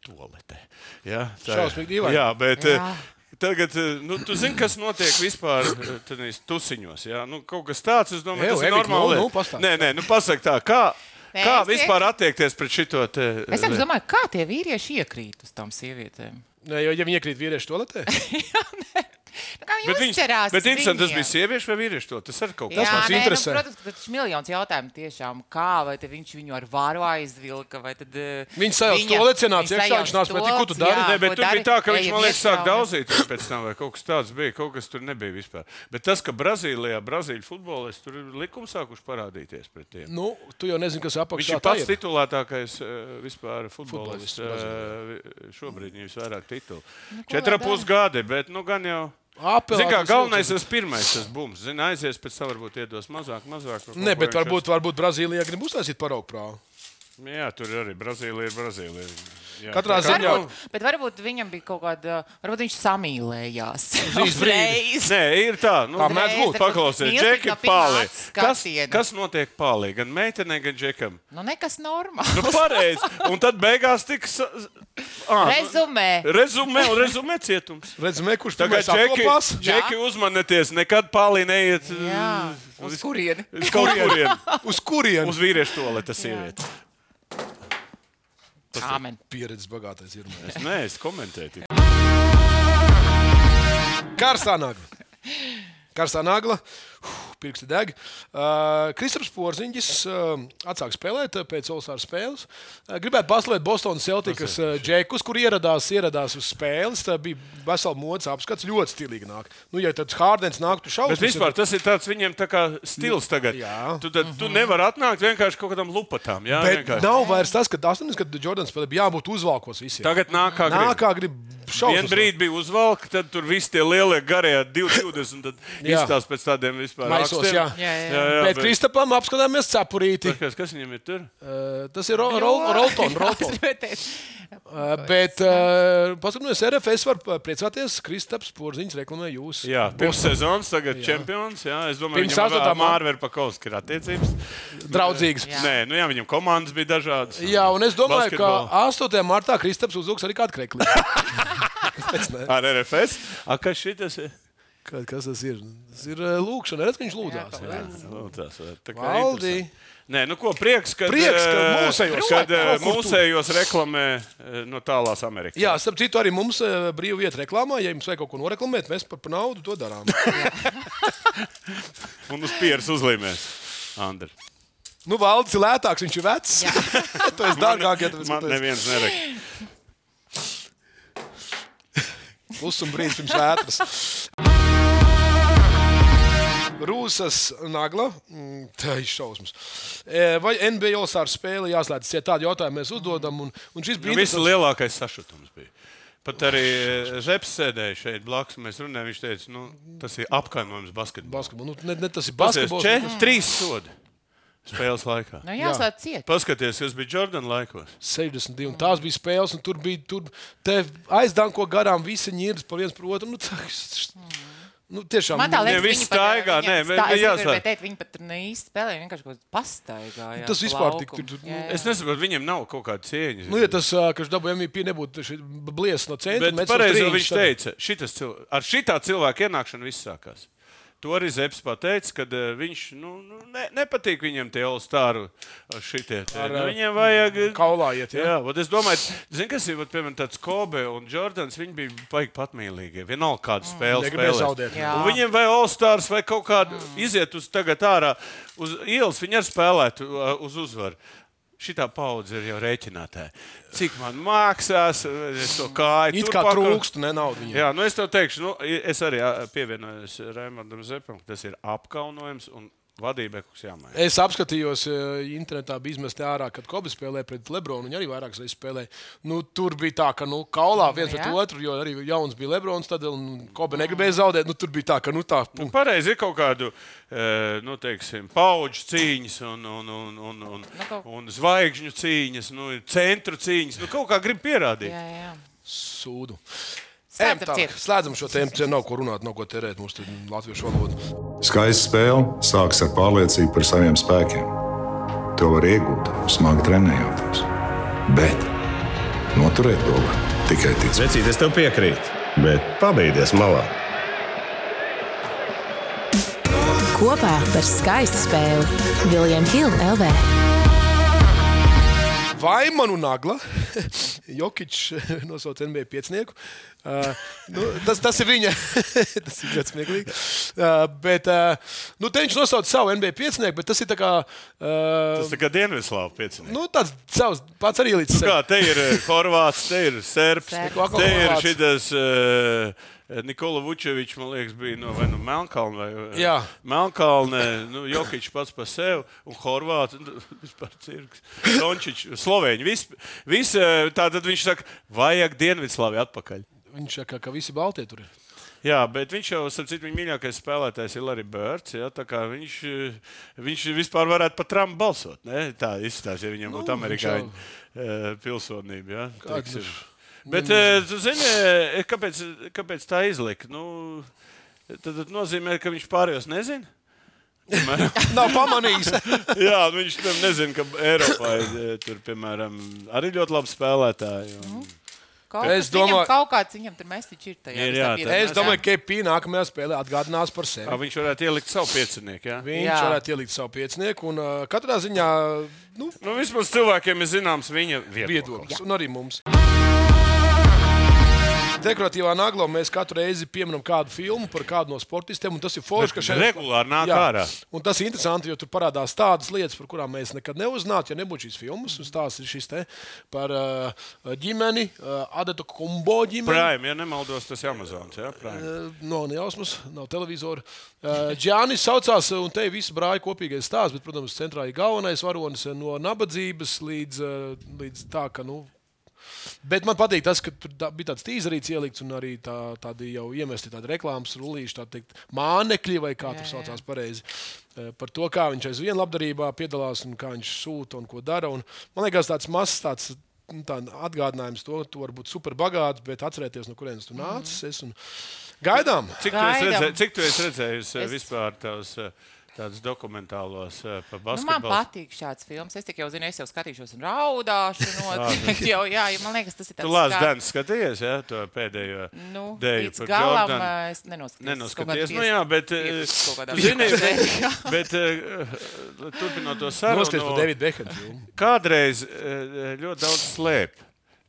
Speaker 2: Toaletē. Jā,
Speaker 4: Šausmīgi dīvaini.
Speaker 2: Jā, bet jā.
Speaker 3: Jā.
Speaker 2: tagad, eh, nu, tu zini, kas notiek vispār eh, tādīs tusiņos. Jā, nu, kaut kas tāds, es domāju,
Speaker 4: Eju,
Speaker 2: tas ir
Speaker 4: Evit,
Speaker 2: normāli.
Speaker 4: nu, nu, pastāsti.
Speaker 2: nē, nē, nu, pasaka tā, kā,
Speaker 3: Nē,
Speaker 2: kā
Speaker 3: es
Speaker 2: vispār attiekties pret šito te. e,
Speaker 3: Es vienkārši domāju, kā tie vīrieši iekrīt uz tām sievietēm.
Speaker 4: Nē, jo, ja viņi iekrīt vīriešu toaletē,
Speaker 3: Nu, kā
Speaker 2: Bet,
Speaker 3: viņi
Speaker 2: viņas,
Speaker 3: uzķerās
Speaker 2: bet
Speaker 3: uz
Speaker 2: interesanti, tas
Speaker 3: viņiem?
Speaker 2: bija sieviešu vai vīriešu to. Tas arī kaut
Speaker 3: Jā,
Speaker 2: kas
Speaker 4: mans
Speaker 3: nē,
Speaker 4: interesē.
Speaker 3: Nu, protams, ka tas ir miljons jautājumu. Tiešām, kā vai te viņš viņu ar vāru aizvilka? vai Tad, eh,
Speaker 4: Viņš sajauc
Speaker 3: viņa-
Speaker 4: tolecenāts
Speaker 3: viņš
Speaker 4: iekšā,
Speaker 3: sajauc
Speaker 4: viņš nāc pretī, ko tu
Speaker 3: tolec,
Speaker 4: dari?
Speaker 3: jā,
Speaker 2: Nē, bet
Speaker 3: ko
Speaker 2: tur
Speaker 3: dari?
Speaker 2: bija tā, ka viņš
Speaker 3: Ejam
Speaker 2: man liekas,
Speaker 3: iekšā
Speaker 2: sāk
Speaker 3: un-
Speaker 2: daudzīties pēc tam, vai kaut kas tāds bija, kaut kas tur nebija vispār. Bet tas, ka Brazīlijā, Brazīļu futbolisti tur ir likumi sākuši parādīties pret tiem.
Speaker 4: nu, tu jau nezini, kas apakšā
Speaker 2: Viņš ir
Speaker 4: tā
Speaker 2: pats titulētākais eh, vispār futbolists.
Speaker 4: Futbolists Nu,
Speaker 2: eh, Šobrīd viņam ir vairāk titulu.
Speaker 3: ko lai
Speaker 2: Četri pus gadi, bet nu gan jau.
Speaker 4: Apelācijas
Speaker 2: Zin, kā, galvenais
Speaker 4: vilciens.
Speaker 2: ir pirmais, tas bums. Zini, aizies pēc tam, varbūt iedos mazāk, mazāk. kaut
Speaker 4: Nē,
Speaker 2: ko
Speaker 4: bet
Speaker 2: viņš
Speaker 4: varbūt, varbūt Brazīlijā grib uztaisīt paraugu prāvu.
Speaker 2: Jā, tur ir arī Brazīlija. Ir Brazīlija. Jā,
Speaker 4: Katrā
Speaker 2: tā kā-
Speaker 4: ziņā-
Speaker 2: Nu,
Speaker 3: Varbūt, bet varbūt viņam bija kaut kāda, varbūt viņš samīlējās.
Speaker 4: Uz īsu brīdi.
Speaker 3: Uzreiz.
Speaker 2: Nē, ir tā. Nu,
Speaker 4: Kā mēdz būt?
Speaker 2: Paklausies,
Speaker 3: Mīlestība
Speaker 2: Džeki,
Speaker 3: pirmā
Speaker 2: pālī. Kas,
Speaker 3: skatiena.
Speaker 2: kas notiek pālī? Gan meitenei, gan Džekam.
Speaker 3: Nu, nekas normāls.
Speaker 2: Nu, pareizi. Un tad beigās tiks.
Speaker 4: nu,
Speaker 3: Rezumē.
Speaker 2: Rezumē, un rezumē cietums.
Speaker 4: Redzam, kurš
Speaker 2: Tagad,
Speaker 4: tagad apkopās.
Speaker 2: Džeki, Džeki uzmanieties, nekad pālī neiet.
Speaker 3: Jā,
Speaker 2: uh,
Speaker 3: uz kurieni?
Speaker 2: Uz kaut kurien.
Speaker 4: Uz kurien?
Speaker 2: Uz
Speaker 4: Uz
Speaker 2: vīriešu to, lai tas sieviete.
Speaker 3: Amen.
Speaker 4: pieredzes bagātais ir.
Speaker 2: Es nē, es komentēju. tik.
Speaker 4: Karstā nagla. Karstā nagla. Uf, Pirksti deg. Uh, Kristaps Porziņģis uh, atsāk spēlēt uh, pēc Olasāra spēles. Uh, gribētu paslēgt Bostonas Celtics uh, džekus, kur ieradās, ieradās uz spēles. Tā bija vesela modes apskats. Ļoti stilīgi nāk. Nu, ja tad Hārdens nāktu šaubas.
Speaker 2: Bet vispār tas ir tāds viņiem tā kā stils tagad.
Speaker 4: Jā.
Speaker 2: Tu, tad,
Speaker 3: Mhm.
Speaker 2: tu nevari atnākt vienkārši kaut kādam lupatām. Jā,
Speaker 4: Bet
Speaker 2: vienkārši.
Speaker 4: nav vairs tas, ka Dārns, kad Jordans spēlē, bija jābūt uzvalkos visiem.
Speaker 2: Tagad nāk kā
Speaker 4: Nā,
Speaker 2: gribi.
Speaker 4: kā grib šaubas.
Speaker 2: Vienu brīdi bija uzvalka, tad tur viss tie lielie garie 220, tad
Speaker 4: Jā.
Speaker 2: izstāsta pēc tādiem vispār.
Speaker 4: Maisos,
Speaker 2: rakstiem.
Speaker 4: jā.
Speaker 3: Jā, jā.
Speaker 2: jā, jā
Speaker 4: Bet
Speaker 2: bet,
Speaker 4: Kristapam apskatāmies cepurīti.
Speaker 2: Kas, kas viņam ir tur?
Speaker 4: Uh, tas ir Ro- Ro- Rolton. Rolton. Uh, Bet, uh, paskatieties, RFS var uh, priecāties. Kristaps Porziņš reklamē jūs.
Speaker 2: Jā, pirms sezonas, tagad jā. čempions. Jā, es domāju,
Speaker 4: Pirms
Speaker 2: ka viņam
Speaker 4: astotā
Speaker 2: ar
Speaker 4: man-
Speaker 2: Mārveru Pakauski ir attiecības.
Speaker 4: draudzīgs.
Speaker 2: Jā. Nē, nu jā, viņam komandas bija dažādas.
Speaker 4: Jā, un es domāju,
Speaker 2: Basketbolā.
Speaker 4: ka 8. martā Kristaps uzlūks arī kādu krekli.
Speaker 2: Ar RFS. A, kas šitas ir?
Speaker 4: Ka- Kas tas ir? Tas ir ā, lūkšana. Redz, ka viņš lūdzās. jā.
Speaker 2: Nu, tas var- tā kā
Speaker 4: Valdi!
Speaker 2: interesanti. Nē, nu ko, prieks, ka,
Speaker 4: Prieks, ka mūsejos.
Speaker 2: kad
Speaker 4: Kaut
Speaker 2: eh,
Speaker 4: kur tu.
Speaker 2: mūsejos reklamē eh, no tālās Amerikas.
Speaker 4: Jā, starp citu, arī mums ā, brīva vieta reklāmā. Ja jums vajag kaut ko noreklamēt, mēs par, par naudu to darām.
Speaker 2: Un uz pieres uzlīmēs. Andri.
Speaker 4: nu, valdes ir lētāks, viņš ir vecs. to es dārgāk, ja tas
Speaker 2: man
Speaker 4: ir
Speaker 2: neviens nerek.
Speaker 4: pusi un brīdis pirms vētras. Rūsas nagla. Mm, Tā ir šausmas. E, Vai NBA All-Star spēle jāslēdz? Ja tādu jautājumu mēs uzdodam, un, un šis
Speaker 2: Nu,
Speaker 4: bija
Speaker 2: Viss
Speaker 4: interesants.
Speaker 2: lielākais sašutums bija. Pat arī eh, Žeps sēdēja šeit blakus. Mēs runājām, viņš teica, nu, tas ir apkaimojums basketbolā.
Speaker 4: Basketbolu. Nu, ne, ne, tas ir
Speaker 2: Tas ir
Speaker 4: basketbols.
Speaker 2: četri, trīs sodi spēles laikā.
Speaker 3: Nu, jāslēdz ciet.
Speaker 2: Paskaties, kas bija Jordana laikos.
Speaker 4: 62. un Tās bija spēles, un tur bija tur te aizdanko garām visi ņirdas pa viens par otru. Nu, tā, nu, tiešām,
Speaker 3: Man tā
Speaker 4: nu,
Speaker 2: Nē,
Speaker 3: liekas,
Speaker 2: viss
Speaker 3: viņi pat, eh,
Speaker 2: staigā,
Speaker 3: viņiem
Speaker 2: nē,
Speaker 3: stā-
Speaker 2: bet
Speaker 3: es
Speaker 2: jāslēdz.
Speaker 3: gribēju teikt, viņi pat tur ne īsti spēlēja, viņi vienkārši kaut kā pastaigāja.
Speaker 4: Tas
Speaker 3: pa
Speaker 4: vispār tik-
Speaker 3: laukumu.
Speaker 4: tur- nu, tur-
Speaker 3: Jā, jā.
Speaker 2: Es nesaprotu, viņiem nav kaut kāda cieņa.
Speaker 4: nu, ja tas, ā, kas dabūja MVP, nebūtu šī bliesa no centra.
Speaker 2: Bet
Speaker 4: mēs
Speaker 2: pareizi
Speaker 4: uz
Speaker 2: jau
Speaker 4: trījus
Speaker 2: viņš
Speaker 4: tad-
Speaker 2: teica, šitas cil... ar šitā cilvēka ienākšanu viss sākās. To arī Zepsi pateica, ka viņš nu, nu, ne, nepatīk viņam tie olstāru šitie. te.
Speaker 4: Ar,
Speaker 2: Nu,
Speaker 4: eh,
Speaker 2: viņiem vajag.
Speaker 4: kaulā iet, jā.
Speaker 2: jā vot es domāju, zini, kas ir, vot, piemēram, tāds Kobe un Jordans, viņi bija paigi patmīlīgi. Vienalga kāda spēle.
Speaker 4: Mm. negribēja zaudēt.
Speaker 3: Jā.
Speaker 2: Viņiem vai olstārs vai kaut kādu iziet uz tagad ārā uz ielas, viņi arī spēlētu uh, uz uzvaru. Šitā paudze ir jau rēķinātāja. Cik man maksās, es to kāju.
Speaker 4: It
Speaker 2: tur
Speaker 4: kā
Speaker 2: pakaru-
Speaker 4: trūkst, ne naudu viņam.
Speaker 2: Jā, nu es tev teikšu, nu, i- es arī ā, pievienojos Raimondam Zepam, ka tas ir apkaunojums un vadībai kaut kas jāmaina.
Speaker 4: Es apskatījos, eh, internetā bija izmesta ārā, kad Kobe spēlēja pret Lebronu. Viņa arī vairākas reizes spēlēja. Nu, tur bija tā, ka nu, kaulā viens pret
Speaker 3: Jā.
Speaker 4: otru, jo arī jauns bija Lebrons. Tad un Kobe negribēja zaudēt. Nu, tur bija tā, ka nu, tā punkta.
Speaker 2: Nu, Pareizi ir kaut kāda nu, teiksim, paudžu cīņas, un, un, un, un, un,
Speaker 3: Nu, kaut-
Speaker 2: un zvaigžņu cīņas, nu, ir centru cīņas. Nu, kaut kā grib pierādīt.
Speaker 3: Jā, jā.
Speaker 4: sūdu.
Speaker 3: Slēdzam
Speaker 4: Ejam tālāk.
Speaker 3: ciet.
Speaker 4: Slēdzam šo tēmu. Te nav ko runāt, nav ko terēt mūsu te latviešu valodu.
Speaker 5: Skaista spēle sākas ar pārliecību par saviem spēkiem. To var iegūt, smagi trenējoties. Bet noturēt to var tikai ticēt.
Speaker 6: Vecīt, es tev piekrītu, bet pabeigties malā.
Speaker 7: Kopā par skaistu spēli Viljams Hilde LV.
Speaker 4: Vai manu nagla, Jokic nosauc NBA piecinieku. Uh, nu, tas, tas ir viņa. tas ir ļoti smieklīgi. Uh, bet uh, nu, te viņš nosauc savu NBA piecinieku, bet tas ir tā kā. Uh,
Speaker 2: Tas ir kā Dienvidslāvu piecinieks.
Speaker 4: Nu, tāds savs, pats arī līdz
Speaker 2: Kā te ir eh, Horvāts, te ir Serbs,
Speaker 4: Serbs.
Speaker 2: te ir šis Nikola Vučevičs, man liekas, bija no, vai nu Melnkalna vai eh,
Speaker 4: Jā.
Speaker 2: Melnkalne, nu, Jokic pats par sevi un Horvāts. nu, Vispār cirks. Dončič, Slovēņi. Vis, vis, eh, tā tad viņš saka, vajag Dienvidslāvi atpakaļ.
Speaker 4: Viņš saka, ka visi balti tur ir.
Speaker 2: Jā, bet viņš jau, starp citu, viņa mīļākais spēlētājs ir Larry Birds. Jā, tā kā viņš, eh, viņš vispār varētu pat Trumpu balsot. Ne? Tā izstāsta, ja viņam
Speaker 4: Nu,
Speaker 2: būtu
Speaker 4: viņš
Speaker 2: amerikāņu eh, pilsonība. Jā,
Speaker 4: Kāds
Speaker 2: teiksim.
Speaker 4: viņš-
Speaker 2: bet, eh, tu zini, eh, kāpēc, kāpēc tā izlika? Nu, tad, tad nozīmē, ka viņš pārējos nezina.
Speaker 4: Nav pamanījis.
Speaker 2: Jā, nu viņš tam nezina, ka Eiropā ir eh, tur, piemēram, arī ļoti labi spēlētāji.
Speaker 4: Nu,
Speaker 2: Un...
Speaker 3: Kaut
Speaker 4: Es
Speaker 3: kas viņam
Speaker 4: domāju-
Speaker 3: kaut kāds viņam tur mēsīčs ir tajā.
Speaker 2: Ir,
Speaker 3: visā
Speaker 2: jā,
Speaker 3: pieredzē.
Speaker 4: es domāju, ka Kepī nākamajā spēlē atgādinās par sevi.
Speaker 2: Ah, Viņš varētu ielikt savu piecinieku. Jā?
Speaker 4: Viņš jā.
Speaker 3: Jā.
Speaker 4: varētu ielikt savu piecinieku. Un, uh, katrā ziņā nu,
Speaker 2: Nu, vismaz cilvēkiem ir zināms viņa viedoklis.
Speaker 4: viedoklis, un arī mums. Dekoratīvā naglā mēs katru reizi pieminam kādu filmu par kādu no sportistiem, un tas ir forši,
Speaker 2: Bet
Speaker 4: ka šeit
Speaker 2: regulāri nāk
Speaker 4: Jā,
Speaker 2: ārā.
Speaker 4: Un tas ir interesanti, jo tur parādās tādas lietas, par kurām mēs nekad neuzzinātu, ja nebūtu šīs filmas. Un tās ir šis te par uh, ģimeni, uh, Adata Kumbo ģimeni.
Speaker 2: Prime, ja nemaldos, tas ir Amazons. Jā, Prime.
Speaker 4: Eh, Nav ne jausmas, nav televizora. Eh, Džānis saucās, un te viss brāļa kopīgais stāsts, bet, protams, centrā ir galvenais varonis eh, no nabadzības līdz, eh, līdz tā, ka. Nu, Bet man patīk tas, ka tur tā- bija tāds tīzerīts ielikts un arī tā, tādi jau iemesti tādi reklāmas rullīši, tā teikt, mānekļi vai kā tur saucās pareizi. eh, Par to, kā viņš aizvien labdarībā piedalās un kā viņš sūta un ko dara. Un, man liekas, tāds mazs tāds, nu, tā atgādinājums to, ka tu vari būt superbagāts, bet atcerēties, no kurienes tu nācis. Mm. Gaidām!
Speaker 2: Cik tu esi
Speaker 3: Gaidām.
Speaker 2: redzē- cik tu esi redzējis es...
Speaker 3: Es-
Speaker 2: vispār tās eh, Tāds dokumentālos eh, par
Speaker 3: Nu, man
Speaker 2: basketbolu.
Speaker 3: patīk šāds filmas. Es tikai jau zinu, es jau skatīšos un raudāšu. noteikti jau, jā, jo man liekas, tas ir
Speaker 2: Tu
Speaker 3: tāds.
Speaker 2: lāsi
Speaker 3: kā-
Speaker 2: Dārns, skaties, jā, to pēdējo
Speaker 3: Nu,
Speaker 2: dēļu
Speaker 3: līdz
Speaker 2: par
Speaker 3: galam
Speaker 2: Jordanu.
Speaker 3: eh, es nenoskatīju.
Speaker 2: Nenoskaties, nu jā, bet, eh, tu zini, bet eh, turpinot to
Speaker 4: Noskaties par
Speaker 2: sarunu,
Speaker 4: Davidu Bekhemu filmu.
Speaker 2: kādreiz eh, ļoti daudz slēp.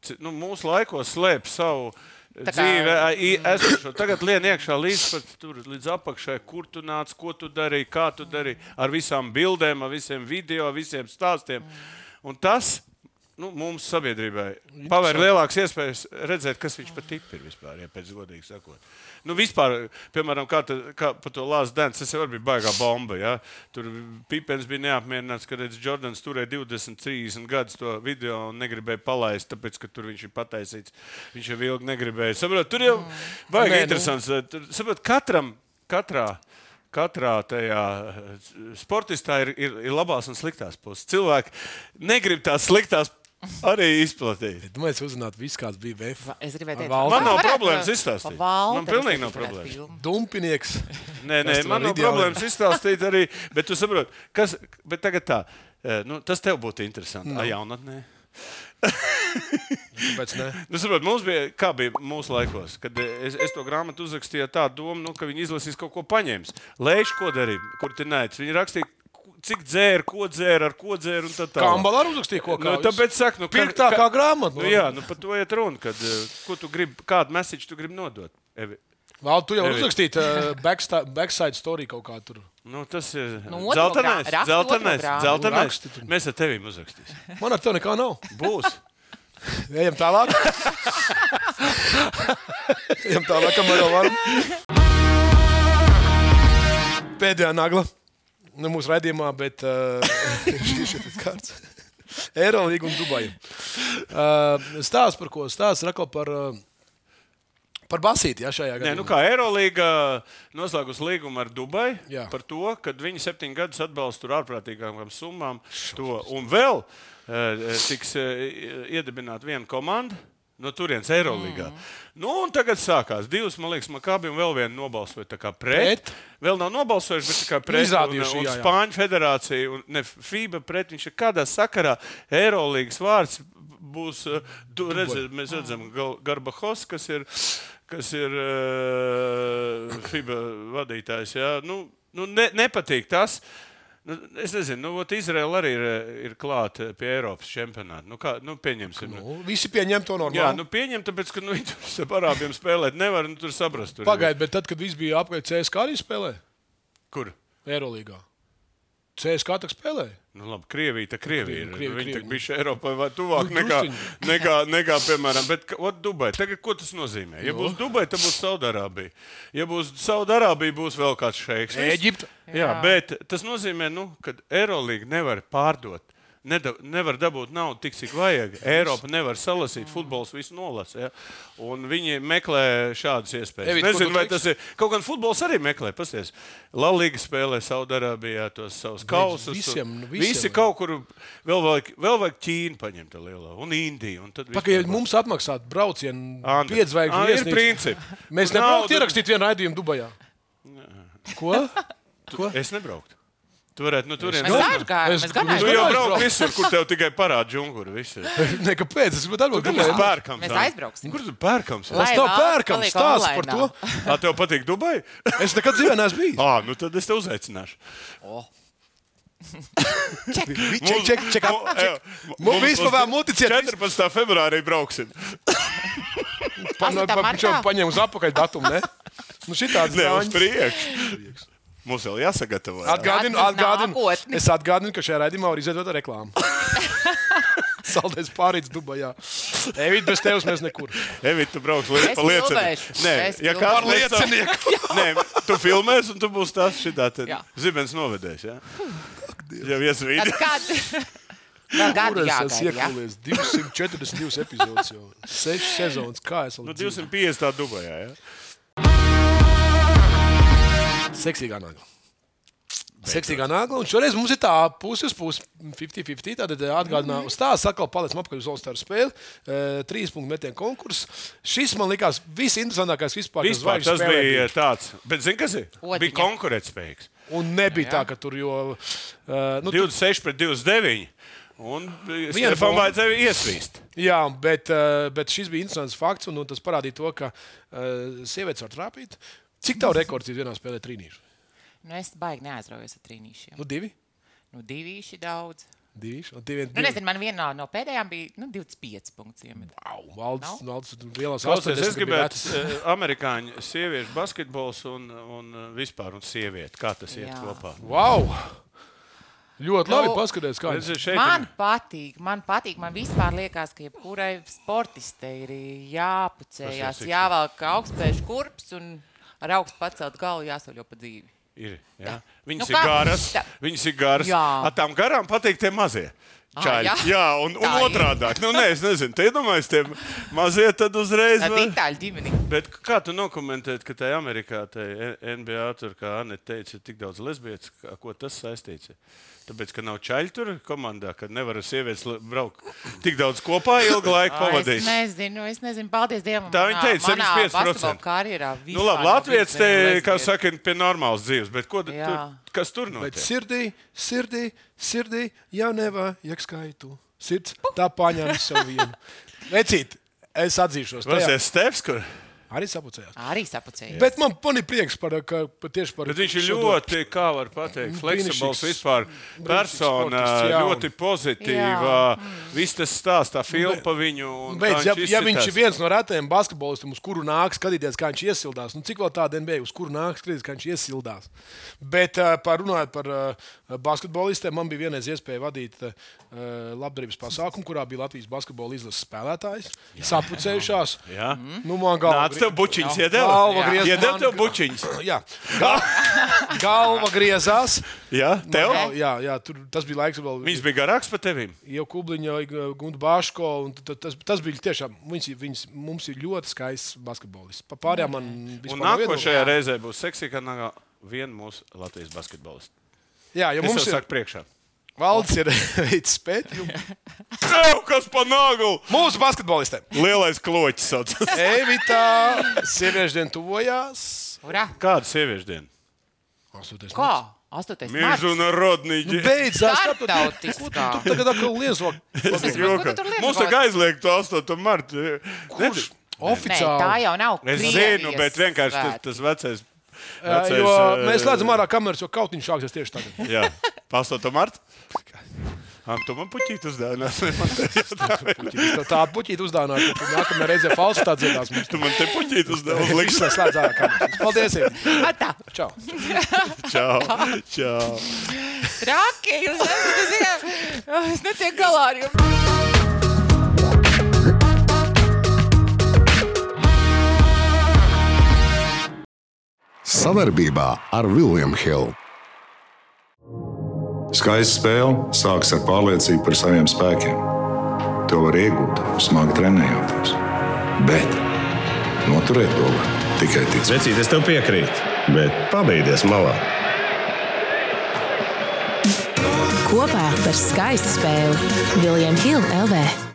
Speaker 2: C- Nu, mūsu laikos slēp savu
Speaker 3: Tā kā-
Speaker 2: dzīvi, i- esošo. Tagad lien iekšā līdz, pat tur, līdz apakšai, kur tu nāc, ko tu darīji, kā tu darīji, ar visām bildēm, ar visiem video, ar visiem stāstiem. Un tas nu, mums sabiedrībai paver lielākas iespējas redzēt, kas viņš pat tip ir vispār, ja pēc godīgi sakot. Nu, vispār, piemēram, kā, tā, kā par to Lāsu Dēns, tas jau arī bija baigā bomba. Ja? Tur Pipens bija neapmierināts, ka redz, Jordans turēja 20, 30 gadus to video un negribēja palaist, tāpēc, ka tur viņš ir pataisīts. Viņš jau ilgi negribēja. Saprot, tur
Speaker 4: Mm.
Speaker 2: jau baigi
Speaker 3: Nē, nu.
Speaker 2: interesants. eh, Tur, saprot, katram, katrā. Katrā tajā eh, sportistā ir, ir, ir labās un sliktās puses. Cilvēki negrib tās sliktās arī izplatīt.
Speaker 4: Tu mēģināji uzzināt, viss, kāds bija VF.
Speaker 3: Es gribēju teikt,
Speaker 4: Valdi.
Speaker 2: Man nav
Speaker 3: varētu
Speaker 2: problēmas
Speaker 3: pa
Speaker 2: izstāstīt.
Speaker 3: Valdi
Speaker 2: Man pilnīgi
Speaker 3: es
Speaker 2: nav
Speaker 3: izdarītu
Speaker 2: problēmas.
Speaker 3: filmu.
Speaker 4: Dumpinieks.
Speaker 2: Nē, nē,
Speaker 4: Tas tev
Speaker 2: man
Speaker 4: ir
Speaker 2: nav
Speaker 4: ideāli.
Speaker 2: problēmas izstāstīt arī. Bet tu saproti, kas bet tagad tā. eh, Nu, tas tev būtu interesanti. No.
Speaker 4: Nu.
Speaker 2: Jaunatnē.
Speaker 4: Tāpēc ne.
Speaker 2: Nu, saprot, mums bija, kā bija mūsu laikos, kad eh, es, es to grāmatu uzrakstīju ar tādu domu, nu, ka viņi izlasīs kaut ko paņēmis. Lēš, ko darīt, kur tur nē, viņi rakstīja, ku- cik dzēra, ko dzēra, ar ko dzēra un tā tālāk.
Speaker 4: Kā ambalā uzrakstīja kaut ko
Speaker 2: Nu, tāpēc saku, nu,
Speaker 4: Pirkt tā kā grāmatu,
Speaker 2: Nu,
Speaker 4: nu.
Speaker 2: jā, nu, par to iet runa, kad, eh, ko tu gribi, kādu mēsīču tu gribi nodot. Evi.
Speaker 4: Valdi, tu jau
Speaker 2: Evi.
Speaker 4: uzrakstīji uh, backsta- backside story kaut kā tur.
Speaker 2: Nu, tas ir
Speaker 3: Nu, otro
Speaker 2: zeltainais.
Speaker 3: grā- raksti
Speaker 2: Zeltainais.
Speaker 3: otro grāmatu.
Speaker 2: zeltainais.
Speaker 4: Raksti tu.
Speaker 2: Mēs ar tevi uzrakstīsim.
Speaker 4: Man ar tevi nekā nav.
Speaker 2: Būs.
Speaker 4: Ejam tālāk. Ejam tālāk, kamēr vēl varam. Pēdējā nagla. Ne mūsu raidījumā, bet uh, šis ir kārts. Eirolandu un Dubaja. Uh, stāsts par ko? Stāsts rako par, uh, par basīti jā, šajā gadā.
Speaker 2: Nē, nu kā Eirolandā noslēgus līgumu ar Dubaju
Speaker 4: Jā.
Speaker 2: par to, ka viņi septiņus gadus atbalsta tur ārprātīgākām summām. To. Un vēl eh, tiks eh, iedibināta viena komanda. No turienes Eirolandā. Mm. Nu, un tagad sākās divas, man liekas, Makābi un vēl viena nobalsoja tā kā pret.
Speaker 4: Pret.
Speaker 2: pret. Vēl nav nobalsojuši, bet tā kā pret. Un,
Speaker 4: Izrādījuši,
Speaker 2: un
Speaker 4: jā, jā.
Speaker 2: Spāņu federācija un ne, FIBA pret viņš ir kādā sakarā Eirolandas vārds. Būs, eh, du, redz, mēs redzam, Gal- Garbahos, kas ir, kas ir eh, FIBA vadītājs. Jā. Nu, nu, ne, nepatīk tas. Nu, es nezinu, nu, ot Izraela arī ir, eh, ir klāta pie Eiropas čempionāta. Nu, kā, nu, pieņemsim, nu,
Speaker 4: Nu, visi pieņem to normāli.
Speaker 2: jā, nu, pieņem, tāpēc, ka nu, viņi tur ar arābiem spēlēt nevar, nu, tur saprast. Tur ir-
Speaker 4: Pagaidiet, bet tad, kad viss bija apgājis, CSK arī spēlēja
Speaker 2: Kur?
Speaker 4: Eirolandā. CSK tā spēlēja.
Speaker 2: Nu, labi, Krievija, tā Krievija ir.
Speaker 4: Krievi,
Speaker 2: Krievi,
Speaker 4: Krievi,
Speaker 2: Viņa
Speaker 4: Krievi.
Speaker 2: tik bija Eiropai vai tuvāk
Speaker 4: Nu,
Speaker 2: nekā,
Speaker 4: drusciņi.
Speaker 2: nekā, nekā, piemēram, bet, ka- ot, Dubai. Tagad, ko tas nozīmē?
Speaker 4: Nu.
Speaker 2: Ja būs Dubai, tad būs Saudārābija. Ja būs Saudārābija, būs vēl kāds šeiks. Nu,
Speaker 4: Ēģipte.
Speaker 2: Jā, bet tas nozīmē, nu, ka Eirolandu nevar pārdot. Neda, nevar dabūt naudu tik, cik vajag. Eiropa nevar salasīt, futbols visu nolasa. Ja? Un Viņi meklē šādas iespējas.
Speaker 4: Evit,
Speaker 2: Evit,
Speaker 4: ko tu
Speaker 2: Nezinu, vai tas
Speaker 4: teiksi?
Speaker 2: ir. Kaut gan futbols arī meklē. Pasties, Lalīga spēlē Saudārābijā tos savus kausus.
Speaker 4: visiem, nu,
Speaker 2: un
Speaker 4: visiem
Speaker 2: Visi
Speaker 4: vajag.
Speaker 2: kaut kur vēl vajag, vēl vajag Ķīnu paņemt tā lielo un Indiju. Un tad viss
Speaker 4: Pagaidiet,
Speaker 2: tur
Speaker 4: ja
Speaker 2: būs.
Speaker 4: mums atmaksātu braucienu,
Speaker 2: Andi. Ā,
Speaker 4: piedzvaigžņu
Speaker 2: ir principi.
Speaker 4: Mēs
Speaker 2: Kur
Speaker 4: nevaram
Speaker 2: nauda-
Speaker 4: ierakstīt vienu raidījumu Dubajā. Ko? Ko?
Speaker 2: Es nebrauktu. Tu varētu no turienes.
Speaker 3: Mēs
Speaker 2: aizbraukt.
Speaker 3: aizgājām,
Speaker 4: Es-
Speaker 3: mēs
Speaker 2: Tu
Speaker 4: es-
Speaker 3: gājām.
Speaker 2: jau
Speaker 4: Aizbraukt.
Speaker 2: brauc visur, kur tev tikai parāda džungļu. Tur
Speaker 4: Nē, kāpēc? Es domāju, ka
Speaker 2: mēs
Speaker 4: tas
Speaker 2: pērkam.
Speaker 3: Mēs
Speaker 2: tā.
Speaker 3: aizbrauksim.
Speaker 2: Kur tu pērkams?
Speaker 3: Lai
Speaker 4: ir
Speaker 3: valsts
Speaker 4: pērkams.
Speaker 3: paliek
Speaker 4: Stāsts par to.
Speaker 3: onlainā.
Speaker 2: Ā, tev patīk Dubai?
Speaker 4: Es nekad dzīvē neesmu bijis.
Speaker 2: Ā, nu tad es te uzaicināšu.
Speaker 4: Ček, ček, ček.
Speaker 2: Mu- ej,
Speaker 4: Mums
Speaker 2: mums
Speaker 4: vispār
Speaker 2: būs
Speaker 4: vēl multiciet.
Speaker 2: 14. februārī brauksim.
Speaker 3: Astoņā martā?
Speaker 4: Viņš jau paņēma uz apakaļ datumu, ne? Nu šitāds
Speaker 2: Ne, uz
Speaker 4: dāņi.
Speaker 2: priekšu. Mums vēl jāsagatavo.
Speaker 4: Atgādinu,
Speaker 3: Skats uz
Speaker 4: atgādinu.
Speaker 3: nākotni.
Speaker 4: Es atgādinu, ka šajā raidījumā var izveidot reklāmu. Saldēs pārīts Dubajā. Evid, bez tevis mēs nekur.
Speaker 2: Evīt, tu brauks li
Speaker 3: Es
Speaker 2: pa liecinieku.
Speaker 3: filmēšu.
Speaker 2: Nē,
Speaker 3: Es
Speaker 2: ja
Speaker 3: filmēšu.
Speaker 2: kāds
Speaker 3: Par
Speaker 2: mēs tam- Nē, tu filmēs un tu būsi tas šitā. tad
Speaker 3: Jā.
Speaker 2: Zibens novedēs, jā? Jau iesvīdi.
Speaker 3: Kādu? Vēl
Speaker 4: Kur
Speaker 3: gadu
Speaker 4: es esmu
Speaker 3: jāgaida. jā?
Speaker 4: iekūlies? 242 epizodes jau. 6 sezonas. Kā es vēl
Speaker 2: Nu,
Speaker 4: dzīvoju?
Speaker 2: 250. Dubajā, jā?
Speaker 4: Seksīgā nagla. Seksīgā nagla. Un šoreiz mums ir tā puse uz puses, 50-50. Tad
Speaker 2: Mhm.
Speaker 4: atgādināju, eh, uz tās atkal palicam apakaļ uz Olstāra spēli. eh, Trīs punktu metienu konkurss. Šis man likās visinteresantākais vispār. kas
Speaker 2: Vispār
Speaker 4: zvaigžņu
Speaker 2: tas
Speaker 4: spēlē
Speaker 2: bija tāds. Bet zini, kas ir?
Speaker 3: Otiņa.
Speaker 2: Bija konkurētspējīgs.
Speaker 4: Un nebija tā, ka tur jau. eh, Nu,
Speaker 2: 26 pret 29. Un
Speaker 4: Viena
Speaker 2: Stefan
Speaker 4: bomba.
Speaker 2: vajadzēja iesvīst.
Speaker 4: Jā, bet, eh, bet šis bija interesants fakts, un nu, tas parādīja to, ka eh, sievietes var trāpīt. Cik tev rekords ir vienā spēlē trīnīšu?
Speaker 3: Nu, es baigi neaizraujos ar trīnīšiem.
Speaker 4: Nu, divi.
Speaker 3: Nu, divi īši daudz.
Speaker 4: Divi, un divi,
Speaker 3: Nu,
Speaker 4: divi.
Speaker 3: nezinu, man vienā no pēdējām bija nu, 25 punkti. iemet.
Speaker 4: Wow,
Speaker 3: Nav?
Speaker 4: Valdis, Valdis, nu, tur lielās
Speaker 2: Klausies,
Speaker 4: 80
Speaker 2: es
Speaker 4: bija
Speaker 2: gribētu
Speaker 4: vecs.
Speaker 2: eh, amerikāņu sieviešu basketbols un, un eh, vispār un sievieti. Kā tas iet
Speaker 3: Jā.
Speaker 2: kopā?
Speaker 4: Wow! Ļoti labi
Speaker 3: Nu,
Speaker 4: paskatās, kā
Speaker 2: Redzi,
Speaker 4: viņš
Speaker 2: šeit
Speaker 3: Man
Speaker 2: ir-
Speaker 3: patīk, man patīk. Man vispār liekas, ka jebkurai sportistei ir
Speaker 2: Tas
Speaker 3: jāpucējās,
Speaker 2: ir
Speaker 3: jāvelk augstspēļu kurps un ar augstu pacelt galu jāsoļo pa dzīvi.
Speaker 2: ir. jā. Viņas
Speaker 3: Nu,
Speaker 2: ir
Speaker 3: kā-
Speaker 2: garas.
Speaker 3: tā-
Speaker 2: Viņas ir garas.
Speaker 3: Jā.
Speaker 2: Ar tām garām patīk tie mazie. Čaļi.
Speaker 3: jā.
Speaker 2: Jā, un, un
Speaker 3: Tā ir.
Speaker 2: otrādi. Nu, nē, es nezinu, tie domājas, tie mazie tad uzreiz.
Speaker 3: Tāda
Speaker 2: var-
Speaker 3: itāļu ģimene.
Speaker 2: Bet kā tu nokomentēji, ka tajā Amerikā, tajā NBA tur, kā Anna teica, ir tik daudz lesbiešu, kā- ko tas saistīts? ir? Tāpēc, ka nav čaļi tur komandā, kad nevar ar sievietes le- braukt tik daudz kopā, ilgu laiku
Speaker 3: Es
Speaker 2: pavadīt.
Speaker 3: nezinu, es nezinu, paldies Dievam.
Speaker 2: Tā viņa teica, 75%.
Speaker 3: karjerā.
Speaker 2: Nu, labi, Latvijas te, kā saka, ir pie normālas dzīves, bet ko, tu,
Speaker 3: Jā.
Speaker 2: tu- kas tur
Speaker 4: Bet
Speaker 2: notiek?
Speaker 4: sirdī, sirdī, sirdī, jau nevajag skaitu. Sirds tā paņēma sev vienu. Vecīt, es atzīšos,
Speaker 2: Vasies
Speaker 4: tas
Speaker 2: Stefs, kur
Speaker 4: arī sapucējās.
Speaker 3: Arī sapucēja.
Speaker 4: Bet man man ir prieks par, ka, par tieši par
Speaker 2: Bet viņš ir
Speaker 4: šo to-
Speaker 2: ļoti, kā var teikt, fleksibls
Speaker 4: Mm, brīnišķīgs-
Speaker 2: vispār. Persona
Speaker 4: sportists, jā, un-
Speaker 2: ļoti pozitīva. Viss tas stāsts, tā filma par viņu. un kā
Speaker 4: Beidz, ja, ja viņš
Speaker 2: izskatās.
Speaker 4: ir viens no retajiem basketbolistiem, uz kuru nāk skatīties, kā viņš iesildās, nu cik vēl tāda NBA, uz kuru nāk skatīties, kā viņš iesildās. Bet uh, par runājot par uh, basketbolistiem, man bija vienreiz iespēja vadīt uh, labdarības pasākumu, kurā bija Latvijas basketbola izlases spēlētājs. Sapucējušās.
Speaker 2: Jā.
Speaker 4: Nu, man galva
Speaker 2: Nāc, tev bučiņas
Speaker 4: Galva
Speaker 2: iedeva.
Speaker 4: griez
Speaker 2: Iedeva
Speaker 4: man-
Speaker 2: tev bučiņas.
Speaker 4: Jā, Gal- galva griezās.
Speaker 2: Jā, tev?
Speaker 4: Man gal- Jā, jā tur, tas bija laiks, kad vēl
Speaker 2: Viņš bija garāks par tevi.
Speaker 4: jau Kubliņa, Gunga Bāško. un t- t- Tas, tas bija tiešām, viņas, viņas, mums ir ļoti skaists basketbolists. Pa pārējām man vispār
Speaker 2: Un
Speaker 4: nav viedokļa.
Speaker 2: nākošajā reizē būs seksīgā nagā viena mūsu Latvijas basketbolista.
Speaker 4: Jā, jo
Speaker 2: Es
Speaker 4: mums
Speaker 2: jau
Speaker 4: ir
Speaker 2: saku priekšā.
Speaker 4: valdes ir veids pētījumu.
Speaker 2: Tev, kas pa nāgu?
Speaker 4: Mūsu basketbolistiem.
Speaker 2: Lielais kloķis sauc.
Speaker 4: Evita, sieviešu diena tuvojās.
Speaker 3: Urā!
Speaker 2: Kāda sieviešu diena?
Speaker 4: Astoties
Speaker 3: Kā? 8. marts.
Speaker 2: Mežunarodniģi.
Speaker 4: Beidzās, kāpēc
Speaker 3: Startautiskā.
Speaker 4: tu tagad atkal liezo?
Speaker 3: Es domāju, ko tu tur lieci
Speaker 2: Mums
Speaker 3: kaut-
Speaker 2: tagad aizliegt to 8. martu.
Speaker 4: Kurš?
Speaker 3: Nē, tā
Speaker 4: Oficiāli.
Speaker 3: jau nav.
Speaker 2: Es
Speaker 3: Krievijas
Speaker 2: zinu, bet vienkārši tas,
Speaker 3: svētki.
Speaker 2: tas vecais.
Speaker 4: Ā,
Speaker 2: vecais
Speaker 4: Jo
Speaker 2: eh,
Speaker 4: mēs slēdzam ārā kameras, jo kaut viņš sāksies tieši tagad.
Speaker 2: Jā, pa 8. martu. Am, tu man puķīt uzdāvinās. vai man te uzdāvinās?
Speaker 4: Tā- Tāda puķīta uzdāvināta, ka nākamajā reizē falsa tā dziedās mums.
Speaker 2: Tu man te puķīt
Speaker 4: Liks,
Speaker 2: uzdāvinās.
Speaker 4: lai slēdz ārā kameras. Paldies! Evita.
Speaker 3: Atā,
Speaker 4: Čau!
Speaker 2: Čau. Čau.
Speaker 3: Traki, jūs esat, es zinām, es netiek galā ar jums.
Speaker 1: Savarbībā ar William Hill.
Speaker 5: Skaista spēle sākas ar pārliecību par saviem spēkiem. To var iegūt, smagi trenējoties. Bet noturēt to var tikai ticēt.
Speaker 6: Vecīt, es tev piekrītu, bet pabeigties malā.
Speaker 7: Kopā par skaistu spēli Viljams Hilde LV.